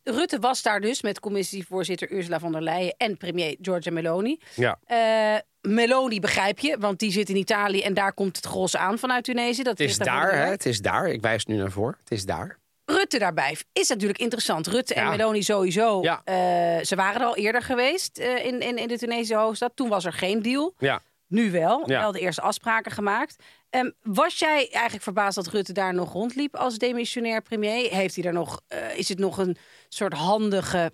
Rutte was daar dus met commissievoorzitter Ursula von der Leyen en premier Giorgia Meloni. Ja. Eh, Meloni begrijp je, want die zit in Italië en daar komt het gros aan vanuit Tunesië. Dat Het is ligt van daar, de hè? werk. Het is daar. Ik wijs nu naar voor. Het is daar. Rutte daarbij is natuurlijk interessant. Rutte en Ja. Meloni sowieso. Ja. eh, ze waren er al eerder geweest eh, in, in, in de Tunesische hoofdstad. Toen was er geen deal. Ja. Nu wel. Ja. Wel de eerste afspraken gemaakt. Ehm, was jij eigenlijk verbaasd dat Rutte daar nog rondliep als demissionair premier? Heeft hij daar nog, eh, is het nog een soort handige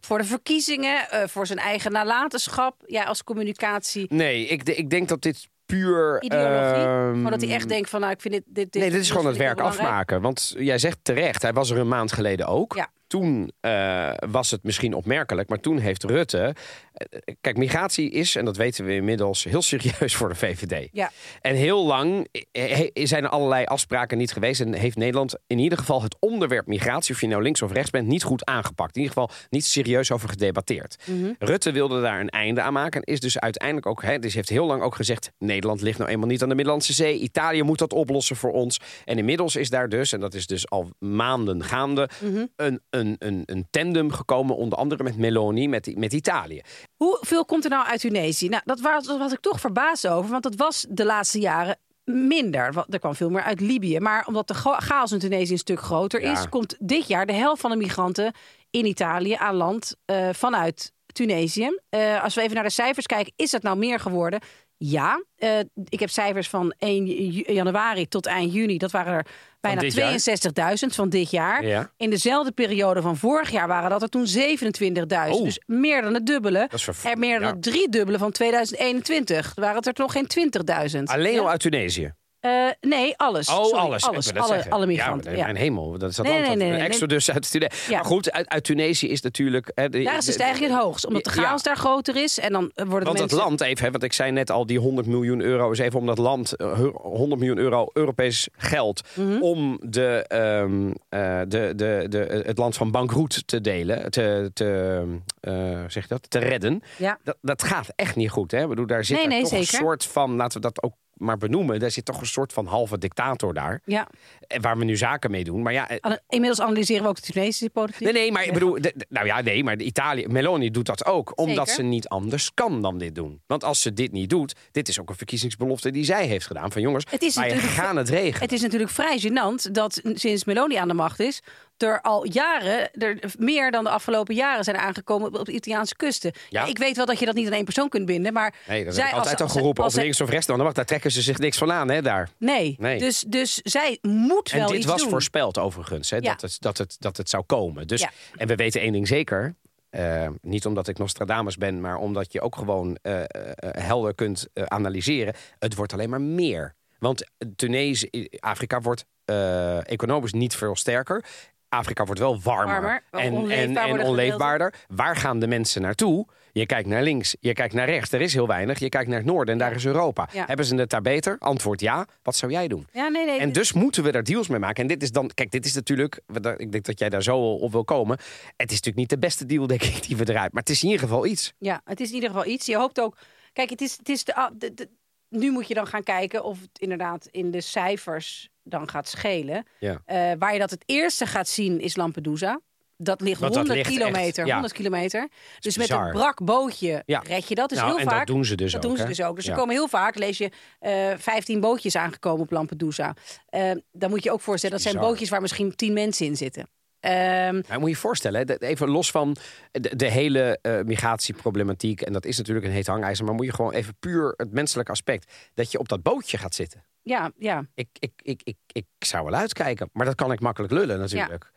voor de verkiezingen, eh, voor zijn eigen nalatenschap? Jij als communicatie, Nee, ik, de- ik denk dat dit puur... ideologie? ehm, maar dat hij echt denkt van, nou, ik vind dit... dit, dit Nee, dit is gewoon het vind ik werk wel belangrijk. afmaken. Want jij zegt terecht, hij was er een maand geleden ook. Ja. Toen eh, was het misschien opmerkelijk, maar toen heeft Rutte... eh, Kijk, migratie is, en dat weten we inmiddels, heel serieus voor de VVD. Ja. En heel lang eh, eh, zijn er allerlei afspraken niet geweest. En heeft Nederland in ieder geval het onderwerp migratie, of je nou links of rechts bent, niet goed aangepakt. In ieder geval niet serieus over gedebatteerd. Mhm. Rutte wilde daar een einde aan maken. En is dus uiteindelijk ook, hè, dus heeft heel lang ook gezegd: Nederland ligt nou eenmaal niet aan de Middellandse Zee. Italië moet dat oplossen voor ons. En inmiddels is daar dus, en dat is dus al maanden gaande, Mhm. een, een, een, een tandem gekomen. Onder andere met Meloni, met, met Italië. Hoeveel komt er nou uit Tunesië? Nou, dat was, dat was ik toch verbaasd over, want dat was de laatste jaren minder. Wa- Er kwam veel meer uit Libië. Maar omdat de ga- chaos in Tunesië een stuk groter Ja. is, komt dit jaar de helft van de migranten in Italië aan land eh, vanuit Tunesië. Eh, als we even naar de cijfers kijken, is dat nou meer geworden? Ja, eh, ik heb cijfers van 1 ju- januari tot eind juni. Dat waren er bijna dit jaar? 62.000 van dit jaar. Ja. In dezelfde periode van vorig jaar waren dat er toen 27.000. Oh. Dus meer dan het dubbele. Dat is verv- Er meer dan ja. het driedubbele van 2021. Er waren het er nog geen 20.000. Alleen Ja. al uit Tunesië. Eh, nee, alles. Oh, Sorry, alles. Ik wou dat alle, zeggen. alle Ja, migranten. maar Ja, Mijn hemel, dat is dat Nee, land. nee, dat- nee, een nee. exodus uit Tunesië. Ja. Maar goed, uit, uit Tunesië is natuurlijk... hè, de- Daar is de stijging het hoogst, omdat de Ja. chaos daar groter is. En dan worden Want de dat mensen... land even, hè, want ik zei net al, die 100 miljoen euro is even om dat land, eh, hu- 100 miljoen euro Europees geld, Mhm. om de, ehm, eh, de, de, de, het land van bankroet te delen, te, te, eh, hoe zeg je dat, te redden. Ja. Dat, dat gaat echt niet goed. Hè? Ik bedoel, daar zit Nee, er nee, toch een zeker. soort van, laten we dat ook maar benoemen, daar zit toch een soort van halve dictator daar, Ja. eh, waar we nu zaken mee doen. Maar ja, eh, Alle- Inmiddels analyseren we ook de Tunesische politiek. Nee, nee, maar ik bedoel, de- de- nou ja, nee, maar de Italië, Meloni doet dat ook, omdat Zeker. ze niet anders kan dan dit doen. Want als ze dit niet doet, dit is ook een verkiezingsbelofte die zij heeft gedaan van jongens, Het is wij natuurlijk- gaan het regelen. Het is natuurlijk vrij gênant dat sinds Meloni aan de macht is... er al jaren, er meer dan de afgelopen jaren zijn aangekomen op de Italiaanse kusten. Ja. Ik weet wel dat je dat niet aan één persoon kunt binden, maar... Nee, dat zij, heb ik als- altijd als- al geroepen, als of zij- links of rechts dan, wacht, daar trekken ze zich niks van aan, hè, daar. Nee, Nee. Dus, dus zij moet En wel dit iets was doen. voorspeld overigens, hè, Ja. dat, het, dat, het, dat het zou komen. Dus, Ja. En we weten één ding zeker. eh, niet omdat ik Nostradamus ben, maar omdat je ook gewoon eh, eh, helder kunt eh, analyseren. Het wordt alleen maar meer. Want Tunesië, Afrika wordt eh, economisch niet eh, veel sterker. Afrika wordt wel warmer, Warmer, wel en, en, onleefbaar en worden onleefbaarder. Waar gaan de mensen naartoe? Je kijkt naar links, je kijkt naar rechts. Er is heel weinig. Je kijkt naar het noorden en daar is Europa. Ja. Hebben ze het daar beter? Antwoord ja. Wat zou jij doen? Ja, nee, nee. En dus moeten we daar deals mee maken. En dit is dan, kijk, dit is natuurlijk, we- daar- ik denk dat jij daar zo al op wil komen. Het is natuurlijk niet de beste deal, denk ik, die we eruit. Maar het is in ieder geval iets. Ja, het is in ieder geval iets. Je hoopt ook. Kijk, het is, het is de, ah, de- de- nu moet je dan gaan kijken of het inderdaad in de cijfers dan gaat schelen. Ja. Eh, waar je dat het eerste gaat zien is Lampedusa. Dat ligt Want dat 100 ligt kilometer. echt, ja. 100 kilometer. Dus met bizar. een brak bootje Ja. red je dat. Dus Nou, heel en vaak, dat doen ze dus dat ook, Doen ze hè? dus ook. Dus Ja. er komen heel vaak, lees je, eh 15 bootjes aangekomen op Lampedusa. Eh, dan moet je ook voorstellen, dat zijn Bizar. bootjes waar misschien 10 mensen in zitten. Ehm, Maar Nou, moet je je voorstellen, hè, dat- even los van de, de hele eh, migratieproblematiek. En dat is natuurlijk een heet hangijzer. Maar moet je gewoon even puur het menselijke aspect. Dat je op dat bootje gaat zitten. ja, ja. Ik, ik, ik, ik, ik zou wel uitkijken. Maar dat kan ik makkelijk lullen natuurlijk.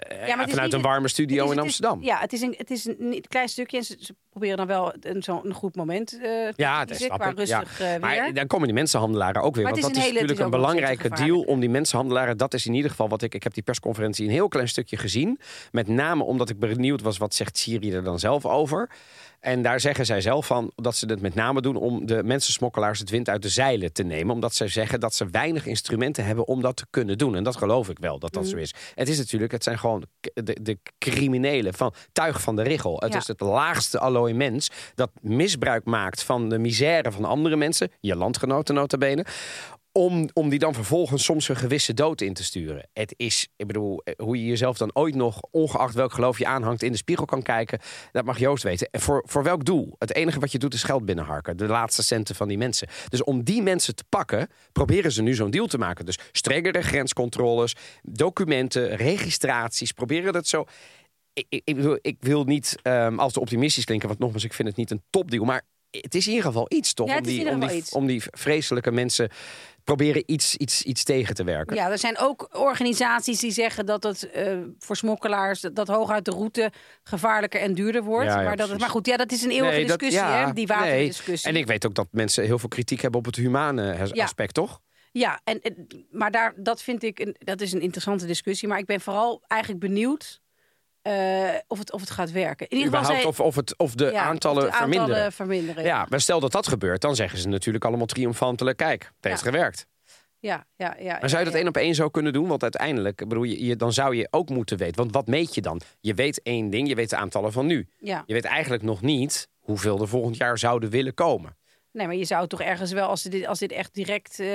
Eh, maar het is vanuit niet- een warme studio Het is- in het is- Amsterdam. ja. ja, het is een, het is een niet- klein stukje. En ze, ze proberen dan wel een, zo'n een goed moment eh, te dat kiezen snap qua ik. ja. rustig eh, weer. Maar dan komen die mensenhandelaren ook weer. Maar het want dat is is een hele- natuurlijk het een is ook wel ontzettend belangrijke deal om die mensenhandelaren. Dat is in ieder geval wat ik. Ik heb die persconferentie een heel klein stukje gezien. Met name omdat ik benieuwd was wat zegt Syrië er dan zelf over. En daar zeggen zij zelf van dat ze het met name doen om de mensensmokkelaars het wind uit de zeilen te nemen. Omdat zij zeggen dat ze weinig instrumenten hebben om dat te kunnen doen. En dat geloof ik wel dat dat zo is. Het is natuurlijk, het zijn gewoon k- de, de criminelen van tuig van de richel. Het Ja. is het laagste allooi mens dat misbruik maakt van de misère van andere mensen. Je landgenoten nota bene om, om die dan vervolgens soms een gewisse dood in te sturen. Het is, ik bedoel, eh, hoe je jezelf dan ooit nog, ongeacht welk geloof je aanhangt, in de spiegel kan kijken. Dat mag Joost weten. En voor, voor welk doel? Het enige wat je doet is geld binnenharken. De laatste centen van die mensen. Dus om die mensen te pakken, proberen ze nu zo'n deal te maken. Dus strengere grenscontroles, documenten, registraties. Proberen dat zo. Ik, ik, ik bedoel, ik wil niet ehm als te optimistisch klinken, want nogmaals, ik vind het niet een topdeal. Maar het is in ieder geval iets, toch? Ja, het om, is die, in ieder om, die, geval iets. om die vreselijke mensen proberen iets, iets, iets tegen te werken. Ja, er zijn ook organisaties die zeggen dat het eh, voor smokkelaars dat, dat hooguit de route gevaarlijker en duurder wordt. Ja, maar, ja, dat het, precies. maar goed, ja, dat is een eeuwige Nee, dat- discussie, ja, hè? Die nee. waterdiscussie. En ik weet ook dat mensen heel veel kritiek hebben op het humane he- Ja. aspect, toch? Ja, en, en- maar daar, dat vind ik een, dat is een interessante discussie. Maar ik ben vooral eigenlijk benieuwd eh, of, het, of het gaat werken. In ieder geval Überhaupt, zij- of, of, het, of de ja, of aantallen de aantallen verminderen. verminderen. Ja, maar stel dat dat gebeurt, dan zeggen ze natuurlijk allemaal triomfantelijk: kijk, het heeft gewerkt. ja, ja, ja. Maar zou je dat ja. één op één zo kunnen doen? Want uiteindelijk, ik bedoel, je, je- dan zou je ook moeten weten. Want wat meet je dan? Je weet één ding, je weet de aantallen van nu. Ja. Je weet eigenlijk nog niet hoeveel er volgend jaar zouden willen komen. Nee, maar je zou toch ergens wel, als dit, als dit echt direct. eh,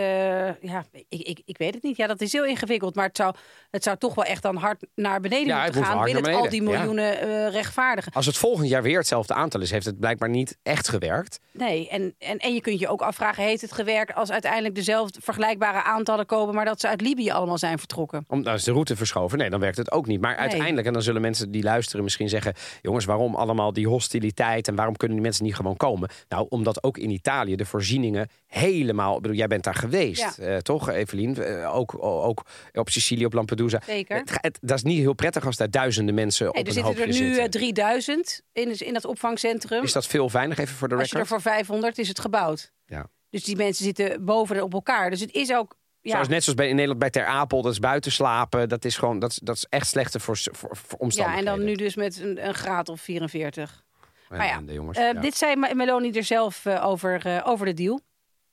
ja, ik, ik, ik weet het niet. Ja, dat is heel ingewikkeld. Maar het zou, het zou toch wel echt dan hard naar beneden Ja, het moeten moet gaan. hard Wil naar het al die beneden, ja. miljoenen eh, rechtvaardigen? Als het volgend jaar weer hetzelfde aantal is, heeft het blijkbaar niet echt gewerkt. Nee, en, en, en je kunt je ook afvragen: heeft het gewerkt als uiteindelijk dezelfde vergelijkbare aantallen komen, maar dat ze uit Libië allemaal zijn vertrokken? Om, nou is de route verschoven. Nee, dan werkt het ook niet. Maar uiteindelijk, en dan zullen mensen die luisteren misschien zeggen... jongens, waarom allemaal die hostiliteit en waarom kunnen die mensen niet gewoon komen? Nou, omdat ook in Italië de voorzieningen helemaal... Ik bedoel, jij bent daar geweest, Ja. eh, toch, Evelien? Eh, ook, ook op Sicilië, op Lampedusa. Zeker. Het, ga- het- dat is niet heel prettig als daar duizenden mensen Hey, op er een zitten hoopje er nu zitten. eh, 3000 in, in dat opvangcentrum. Is dat veel weinig, even voor de als je er record? voor 500 is het gebouwd. Ja. Dus die mensen zitten boven en op elkaar. Dus het is ook. Ja, Zoals net zoals bij, in Nederland bij Ter Apel, dat is buiten slapen. Dat is, gewoon, dat is, dat is echt slechter voor, voor, voor ja, en omstandigheden. dan nu dus met een, een graad of 44. Maar ja, de jongens, eh, ja. dit zei Ma- Meloni er zelf eh, over, eh, over de deal.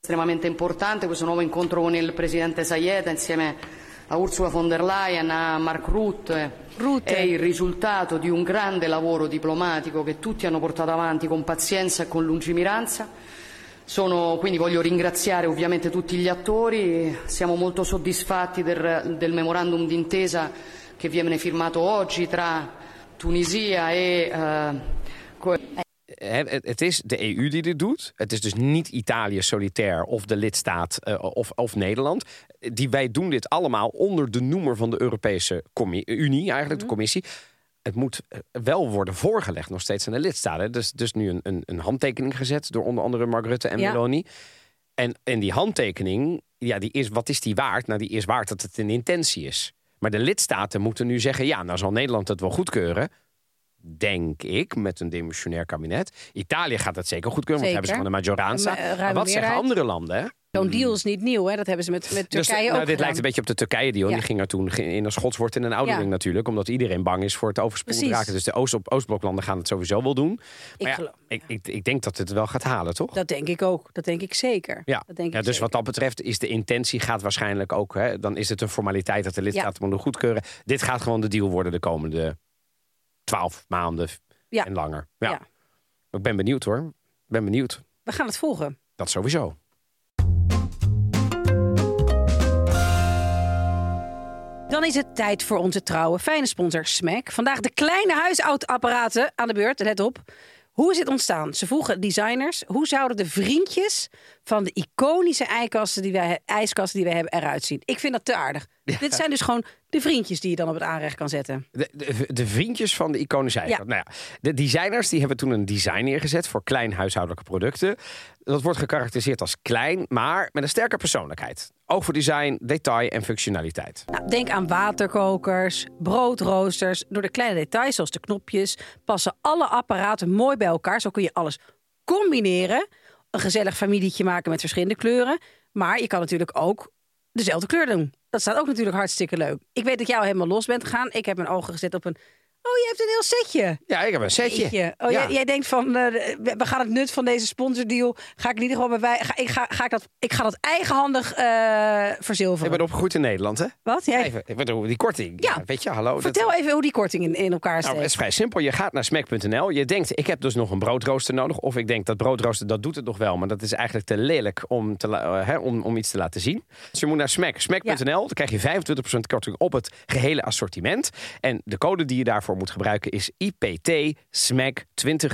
estremamente importante questo nuovo incontro con il presidente Sayeta insieme a Ursula von der Leyen, a Mark Rutte. Rutte. È il risultato di un grande lavoro diplomatico che tutti hanno portato avanti con pazienza e con lungimiranza. Sono- quindi voglio ringraziare ovviamente tutti gli attori, siamo molto soddisfatti del, del memorandum d'intesa che viene firmato oggi tra Tunisia e eh, Co- Hè, het, het is de EU die dit doet. Het is dus niet Italië solitair of de lidstaat eh, of, of Nederland. Die, wij doen dit allemaal onder de noemer van de Europese commi- eh, Unie, eigenlijk Mhm. de commissie. Het moet eh, wel worden voorgelegd nog steeds aan de lidstaten. Dus, dus nu een, een, een handtekening gezet door onder andere Mark Rutte en Ja. Meloni. En, en die handtekening, ja, die is, wat is die waard? Nou, die is waard dat het een intentie is. Maar de lidstaten moeten nu zeggen, ja, nou zal Nederland het wel goedkeuren. denk ik, met een demissionair kabinet. Italië gaat dat zeker goed kunnen, Zeker. want hebben ze gewoon de maggioranza. Een, eh, ruime maar wat zeggen meerderheid. andere landen, hè? Zo'n deal is niet nieuw, hè? dat hebben ze met, met Mm. Dus, Turkije nou, ook dit lijkt gedaan. een beetje op de Turkije-deal. Ja. Die ging er toen ge- in een schotswoord in een oudering Ja. natuurlijk. Omdat iedereen bang is voor het overspoeld Precies. raken. Dus de Oost Oostbloklanden gaan het sowieso wel doen. Ik Maar ja, geloof- ik, ik, ik denk dat het wel gaat halen, toch? Dat denk ik ook, dat denk ik zeker. Ja, dat denk ik ja dus zeker. wat dat betreft is de intentie gaat waarschijnlijk ook. Hè, dan is het een formaliteit dat de lidstaten moeten goedkeuren. Dit gaat gewoon de deal worden de komende twaalf maanden Ja. en langer. Ja. Ja. Ik ben benieuwd hoor. Ik ben benieuwd. We gaan het volgen. Dat sowieso. Dan is het tijd voor onze trouwe fijne sponsor Smack. Vandaag de kleine huishoudapparaten aan de beurt. Let op. Hoe is dit ontstaan? Ze vroegen designers, hoe zouden de vriendjes van de iconische ijskasten die wij, ijskasten die wij hebben eruit zien? Ik vind dat te aardig. Dit zijn dus gewoon de vriendjes die je dan op het aanrecht kan zetten. De, de, de vriendjes van de iconische eigenschap. Nou ja, de designers die hebben toen een design neergezet voor klein huishoudelijke producten. Dat wordt gekarakteriseerd als klein, maar met een sterke persoonlijkheid. Oog voor design, detail en functionaliteit. Nou, denk aan waterkokers, broodroosters. Door de kleine details zoals de knopjes passen alle apparaten mooi bij elkaar. Zo kun je alles combineren. Een gezellig familietje maken met verschillende kleuren. Maar je kan natuurlijk ook dezelfde kleur doen. Dat staat ook natuurlijk hartstikke leuk. Ik weet dat jij al helemaal los bent gegaan. Ik heb mijn ogen gezet op een... Oh, je hebt een heel setje. Ja, ik heb een setje. Jeetje. Oh, ja. jij, jij denkt van, eh, we we gaan het nut van deze sponsordeal... ga ik in ieder geval bij... wij- Ga, ik, ga, ga ik, dat, ik ga dat eigenhandig eh, Ik verzilveren. ben opgegroeid in Nederland, hè? Wat? Jij... Even, ik bedoel, die korting. Ja. Ja. Weet je, hallo. dat- Vertel even hoe die korting in, in elkaar Nou, steekt. het is vrij simpel. Je gaat naar smack.nl. Je denkt, ik heb dus nog een broodrooster nodig. Of ik denk, dat broodrooster, dat doet het nog wel. Maar dat is eigenlijk te lelijk om, te, la- eh, hè, om, om iets te laten zien. Dus je moet naar smack. Smack.nl. Dan krijg je 25% korting op het gehele assortiment. En de code die je daarvoor moet gebruiken is IPT Smack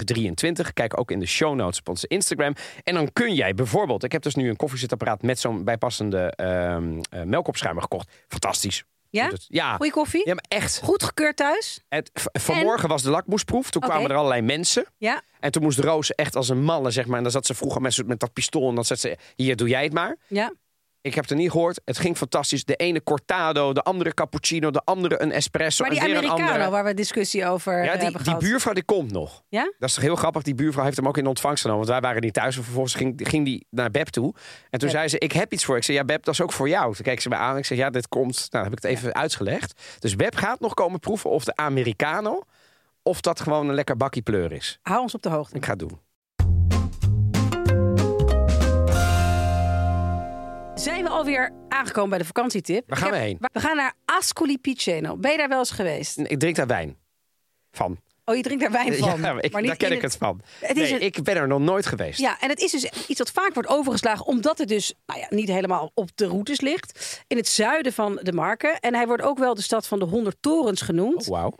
2023. Kijk ook in de show notes op onze Instagram. En dan kun jij bijvoorbeeld... Ik heb dus nu een koffiezetapparaat met zo'n bijpassende ehm, eh, melkopschuimer gekocht. Fantastisch. Ja? Doet het. Ja. Goeie koffie? Ja, maar echt. Goed gekeurd thuis? Het, v- vanmorgen was de lakmoesproef. Toen Oké. kwamen er allerlei mensen. Ja. En toen moest Roos echt als een malle, zeg maar. En dan zat ze vroeger met, zo- met dat pistool. En dan zat ze, hier, doe jij het maar. Ja. Ik heb het er niet gehoord. Het ging fantastisch. De ene cortado, de andere cappuccino, de andere een espresso. Maar die en weer een Americano andere. waar we discussie over Ja, die, hebben die gehad. buurvrouw die komt nog. eh, Ja? Dat is toch heel grappig. Die buurvrouw heeft hem ook in ontvangst genomen. Want wij waren niet thuis. En vervolgens ging, ging die naar Beb toe. En toen Beb. zei ze, ik heb iets voor. Ik zei, ja Beb, dat is ook voor jou. Toen keek ze me aan. Ik zei, ja, dit komt. Nou, dan heb ik het even uitgelegd. Dus Beb gaat nog komen proeven of de Americano... of dat gewoon een lekker bakkie pleur is. Hou ons op de hoogte. Ik ga het doen. Zijn we alweer aangekomen bij de vakantietip? Waar gaan Ik heb- we heen? We gaan naar Ascoli Piceno. Ben je daar wel eens geweest? En Ik drink daar wijn. Van. Oh, je drinkt daar wijn van. Ja, maar ik, daar ken in ik het van. Het is nee, een- ik ben er nog nooit geweest. Ja, en het is dus iets dat vaak wordt overgeslagen, omdat het dus nou ja, niet helemaal op de routes ligt. In het zuiden van de Marken. En hij wordt ook wel de stad van de 100 torens genoemd. Oh, Wauw.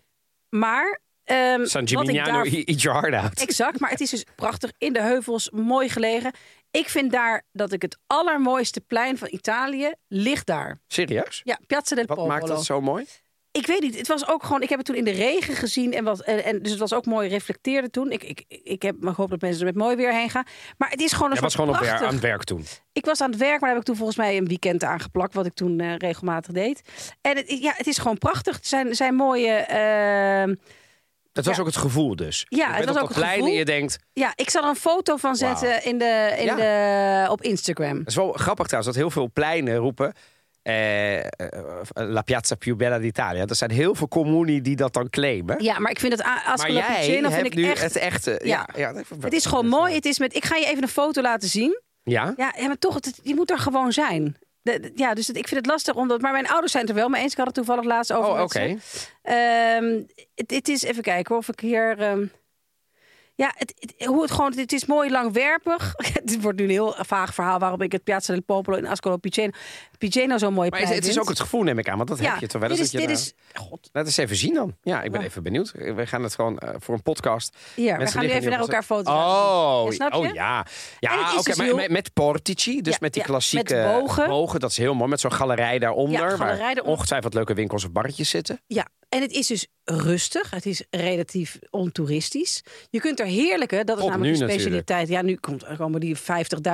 Maar. ehm, San wat ik Gimignano, daar- eat your heart out. Exact, maar het is dus prachtig in de heuvels, mooi gelegen. Ik vind daar dat ik het allermooiste plein van Italië ligt daar. Serieus? Ja, Piazza del Wat Popolo. maakt dat zo mooi? Ik weet niet, het was ook gewoon, ik heb het toen in de regen gezien en, wat, en, en dus het was ook mooi reflecteerde toen. Ik, ik, ik heb maar gehoopt dat mensen er met mooi weer heen gaan. Maar het is gewoon een Jij was soort gewoon op, prachtig- aan het werk toen. ik was aan het werk, maar daar heb ik toen volgens mij een weekend aangeplakt, wat ik toen eh, regelmatig deed. En het, ja, het is gewoon prachtig. Het zijn, zijn mooie. ehm, Dat was Ja. ook het gevoel dus. Ja, je het bent was op ook dat het plein gevoel. en je denkt... ja, ik zal er een foto van zetten in de, in Ja. de, op Instagram. Het is wel grappig trouwens dat heel veel pleinen roepen... eh, eh, La Piazza più bella d'Italia. Er zijn heel veel comuni die dat dan claimen. Ja, maar ik vind het a- maar Ascoli jij Piceno vind hebt ik nu echt. het echte... Ja. Ja. Ja, dat- Het is gewoon mooi. Het is met. Ik ga je even een foto laten zien. Ja? Ja, ja maar toch, het, je moet er gewoon zijn. De- de- ja, dus het- ik vind het lastig omdat. Maar mijn ouders zijn het er wel mee eens. Ik had het toevallig laatst over. Oh, oké. met ze. Ehm, het, het is even kijken hoor, of ik hier. ehm, ja, het, het- hoe het gewoon. Het is mooi langwerpig. het wordt nu een heel vaag verhaal waarom ik het Piazza del Popolo in Ascoli Piceno, Piceno zo'n mooie Maar plek het, het is ook het gevoel, neem ik aan. Want dat Ja, heb je toch wel dit eens. is, dat je dit is, daar- God, Laat eens even zien dan. Ja, ik ben Ja. even benieuwd. We gaan het gewoon eh, voor een podcast. Hier, we Mensen gaan nu liggen even naar op elkaar onze- foto's laten zien. Oh, Ja, snap je? oh ja. En het is Ja, oké, dus maar heel- met, met portici, dus Ja, met die ja, klassieke met bogen. Dat is heel mooi, met zo'n galerij daaronder. Ja, galerij waar daaronder. ongetwijfeld leuke winkels of barretjes zitten. Ja, en het is dus rustig. Het is relatief ontoeristisch. Je kunt er heerlijke, dat is Tot namelijk nu de specialiteit. Ja, nu komt, er komen die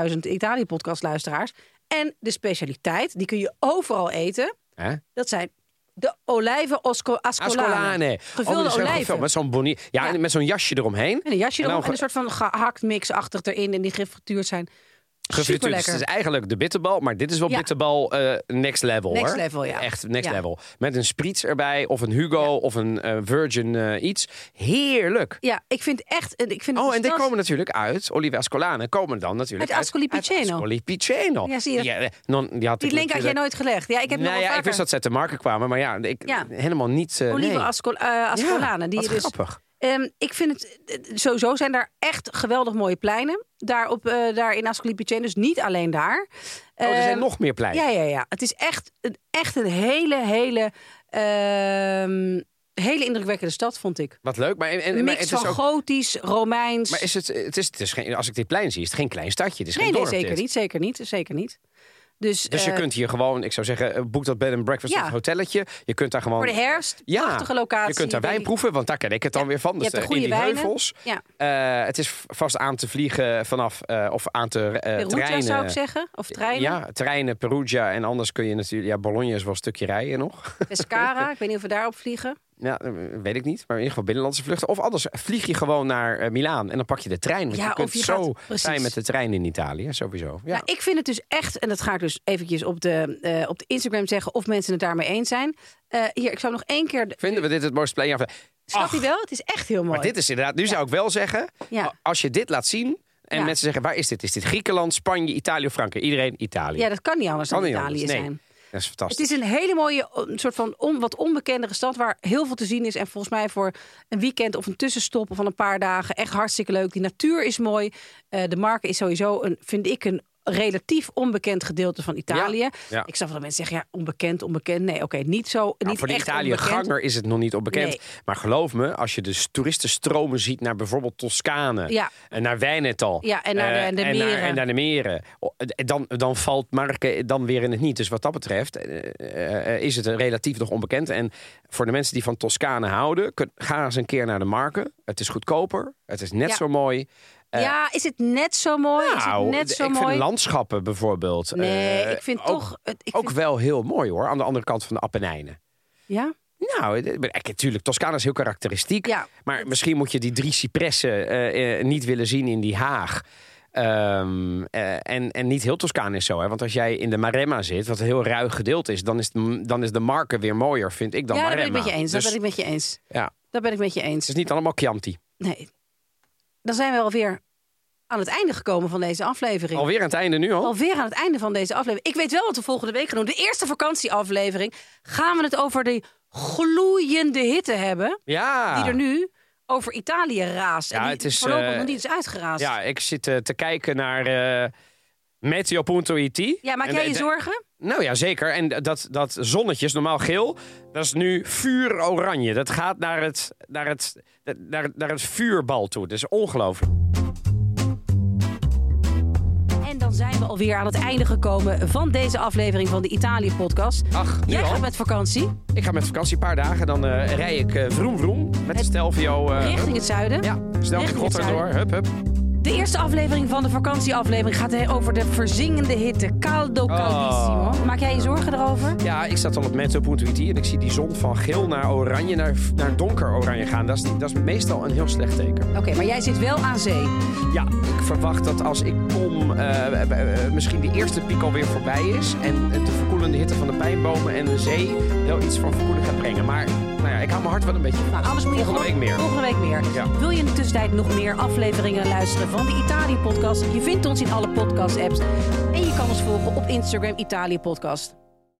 50.000 Italië-podcastluisteraars. En de specialiteit, die kun je overal eten. Hè? Dat zijn de olijven osco- ascolane. Ascolane. Gevulde Oh, die zijn olijven. gevuld Nou, Met zo'n boni- ja, Ja. en met zo'n jasje eromheen. En een jasje En erop dan en een soort van gehakt mix achter erin. En die gefrituurd zijn. Super Gefrituurd. Dus het is lekker. eigenlijk de bitterbal, maar dit is wel Ja. bitterbal eh, next level. Next hoor. level, ja. Echt next Ja. level. Met een spritz erbij, of een Hugo, Ja. of een eh, Virgin eh, iets. Heerlijk. Ja, ik vind echt... en Ik vind e- Oh, het en die fantastisch. komen natuurlijk uit, Olive Ascolane, komen dan natuurlijk dus Uit Ascoli Piceno. Ascoli Piceno. Ja, zie je. eh, non- die had Die ik link had jij natuurlijk- nooit gelegd. Ja, ik heb nou nog wel ja, ik vaker. wist dat ze uit de marken kwamen, maar ja, ik, Ja. helemaal niet... eh, Olive nee. ascol- eh, ascolane. Ja, die wat je dus, grappig. Ehm, ik vind het, eh, sowieso zijn daar echt geweldig mooie pleinen. Daar, op, eh, daar in Ascoli Piceno, dus niet alleen daar. Oh, er zijn Ehm, nog meer pleinen. Ja, ja, ja. Het is echt een, echt een hele, hele, ehm, hele indrukwekkende stad, vond ik. Wat leuk, maar, en, en- Een maar mix het van is ook... gotisch, Romeins. Maar is het, het is, het is geen, als ik dit plein zie, is het geen klein stadje. Het is nee, geen nee, dorp, zeker dit. niet, zeker niet, zeker niet. Dus, Dus je eh, kunt hier gewoon, ik zou zeggen, eh, boek dat bed and breakfast ja. of hotelletje. Je kunt daar gewoon... voor de herfst, prachtige locatie. Je kunt daar denk wijn ik. proeven, want daar ken ik het dan weer van. Je Dus hebt de eh, goede in die wijnen. heuvels. Ja. Eh, het is v- vast aan te vliegen vanaf, eh, of aan te eh, De route, treinen. zou ik zeggen. Of treinen. Ja, treinen, Perugia en anders kun je natuurlijk... Ja, Bologna is wel een stukje rijden nog. Pescara, ik weet niet of we daarop vliegen. ja, eh, weet ik niet, maar in ieder geval binnenlandse vluchten. Of anders vlieg je gewoon naar eh, Milaan en dan pak je de trein. Want Ja, je of kunt je zo gaat- precies. zijn met de trein in Italië, sowieso. Ja. Nou, ik vind het dus echt, en dat ga ik dus eventjes op de, eh, op de Instagram zeggen... of mensen het daarmee eens zijn. Eh, hier, ik zou nog één keer... de- Vinden we dit het mooiste plein? Ja, Snap je wel? Het is echt heel mooi. Maar dit is inderdaad, nu zou ik wel zeggen, Ja. als je dit laat zien en Ja. mensen zeggen, waar is dit? Is dit Griekenland, Spanje, Italië of Frankrijk? Iedereen Italië. Ja, dat kan niet anders Kan dan niet Italië anders, nee. zijn. Dat is Het fantastisch. is een hele mooie, eh, een soort van on- wat onbekendere stad waar heel veel te zien is. En volgens mij voor een weekend of een tussenstop van een paar dagen echt hartstikke leuk. Die natuur is mooi. Eh, de markt is sowieso, een, vind ik, een relatief onbekend gedeelte van Italië. ja. Ik snap wel dat mensen zeggen, ja, onbekend, onbekend. Nee, oké, niet zo, Nou, niet voor de echt onbekend. Italië-ganger is het nog niet onbekend. Nee. Maar geloof me, als je dus toeristenstromen ziet naar bijvoorbeeld Toscane... Ja. en naar Wijnetal... Ja, en naar de- eh, en de en meren. en naar de meren... o- eh, Dan, dan valt Marken dan weer in het niet. Dus wat dat betreft eh, eh, eh, is het relatief nog onbekend. En voor de mensen die van Toscane houden... kun- ga eens een keer naar de Marken. Het is goedkoper, het is net Ja. zo mooi... eh, ja, is het net zo mooi? is Nou, het net zo ik mooi? vind landschappen bijvoorbeeld. nee, eh, ik vind ook- toch... het- Ik Ook vind- wel heel mooi hoor, aan de andere kant van de Appenijnen. ja? Nou, eh, maar ik- natuurlijk, Toscana is heel karakteristiek. Ja. maar misschien moet je die drie cipressen eh, eh, niet willen zien in Die Haag. Ehm, eh, en, en niet heel Toscaan is zo, hè? want als jij in de Maremma zit, wat een heel ruig gedeelte is, dan is, het- dan is de Marken weer mooier, vind ik, dan ja, dat ben Maremma. ik met je eens. Dus, Dat ben ik met je eens. ja, Dat ben ik met je eens. het is niet allemaal Chianti. Nee. Dan zijn we alweer aan het einde gekomen van deze aflevering. Alweer aan het einde nu al. Alweer aan het einde van deze aflevering. Ik weet wel wat we volgende week gaan doen. De eerste vakantieaflevering gaan we het over die gloeiende hitte hebben. Ja. Die er nu over Italië raast. Ja, en die het is, voorlopig eh, nog niet is uitgeraasd. Ja, ik zit eh, te kijken naar eh meteo.it. Ja, maak En jij de- je de- zorgen? Nou ja, zeker. En dat, dat zonnetje is normaal geel. Dat is nu vuur-oranje. Dat gaat naar het, naar, het, naar, het- naar het vuurbal toe. Dat is ongelooflijk. En dan zijn we alweer aan het einde gekomen van deze aflevering van de Italië-podcast. Ach, nu Jij al? gaat met vakantie Ik ga met vakantie een paar dagen. Dan eh, rij ik eh vroom vroom met de Stelvio. eh, richting het zuiden. Ja, Stelvio richting het Gotthard door. zuiden. Hup, hup. De eerste aflevering van de vakantieaflevering gaat over de verzingende hitte. Caldo Ah. caldissimo. Maak jij je zorgen erover? Ja, ik zat al op meteo.it en ik zie die zon van geel naar oranje, naar, naar donker-oranje gaan. Dat is, dat is meestal een heel slecht teken. Oké, maar jij zit wel aan zee. Ja, ik verwacht dat als ik kom, eh, eh, eh, misschien de eerste piek alweer voorbij is. En eh, de verkoelende hitte van de pijnbomen en de zee wel iets van verkoeling gaat brengen. Maar nou ja, ik hou mijn hart wel een beetje. Nou, anders moet je Volgende gewoon week meer. volgende week meer. Ja. Wil je in de tussentijd nog meer afleveringen luisteren van de Italië Podcast? Je vindt ons in alle podcast apps en je kan ons volgen op Instagram Italië Podcast.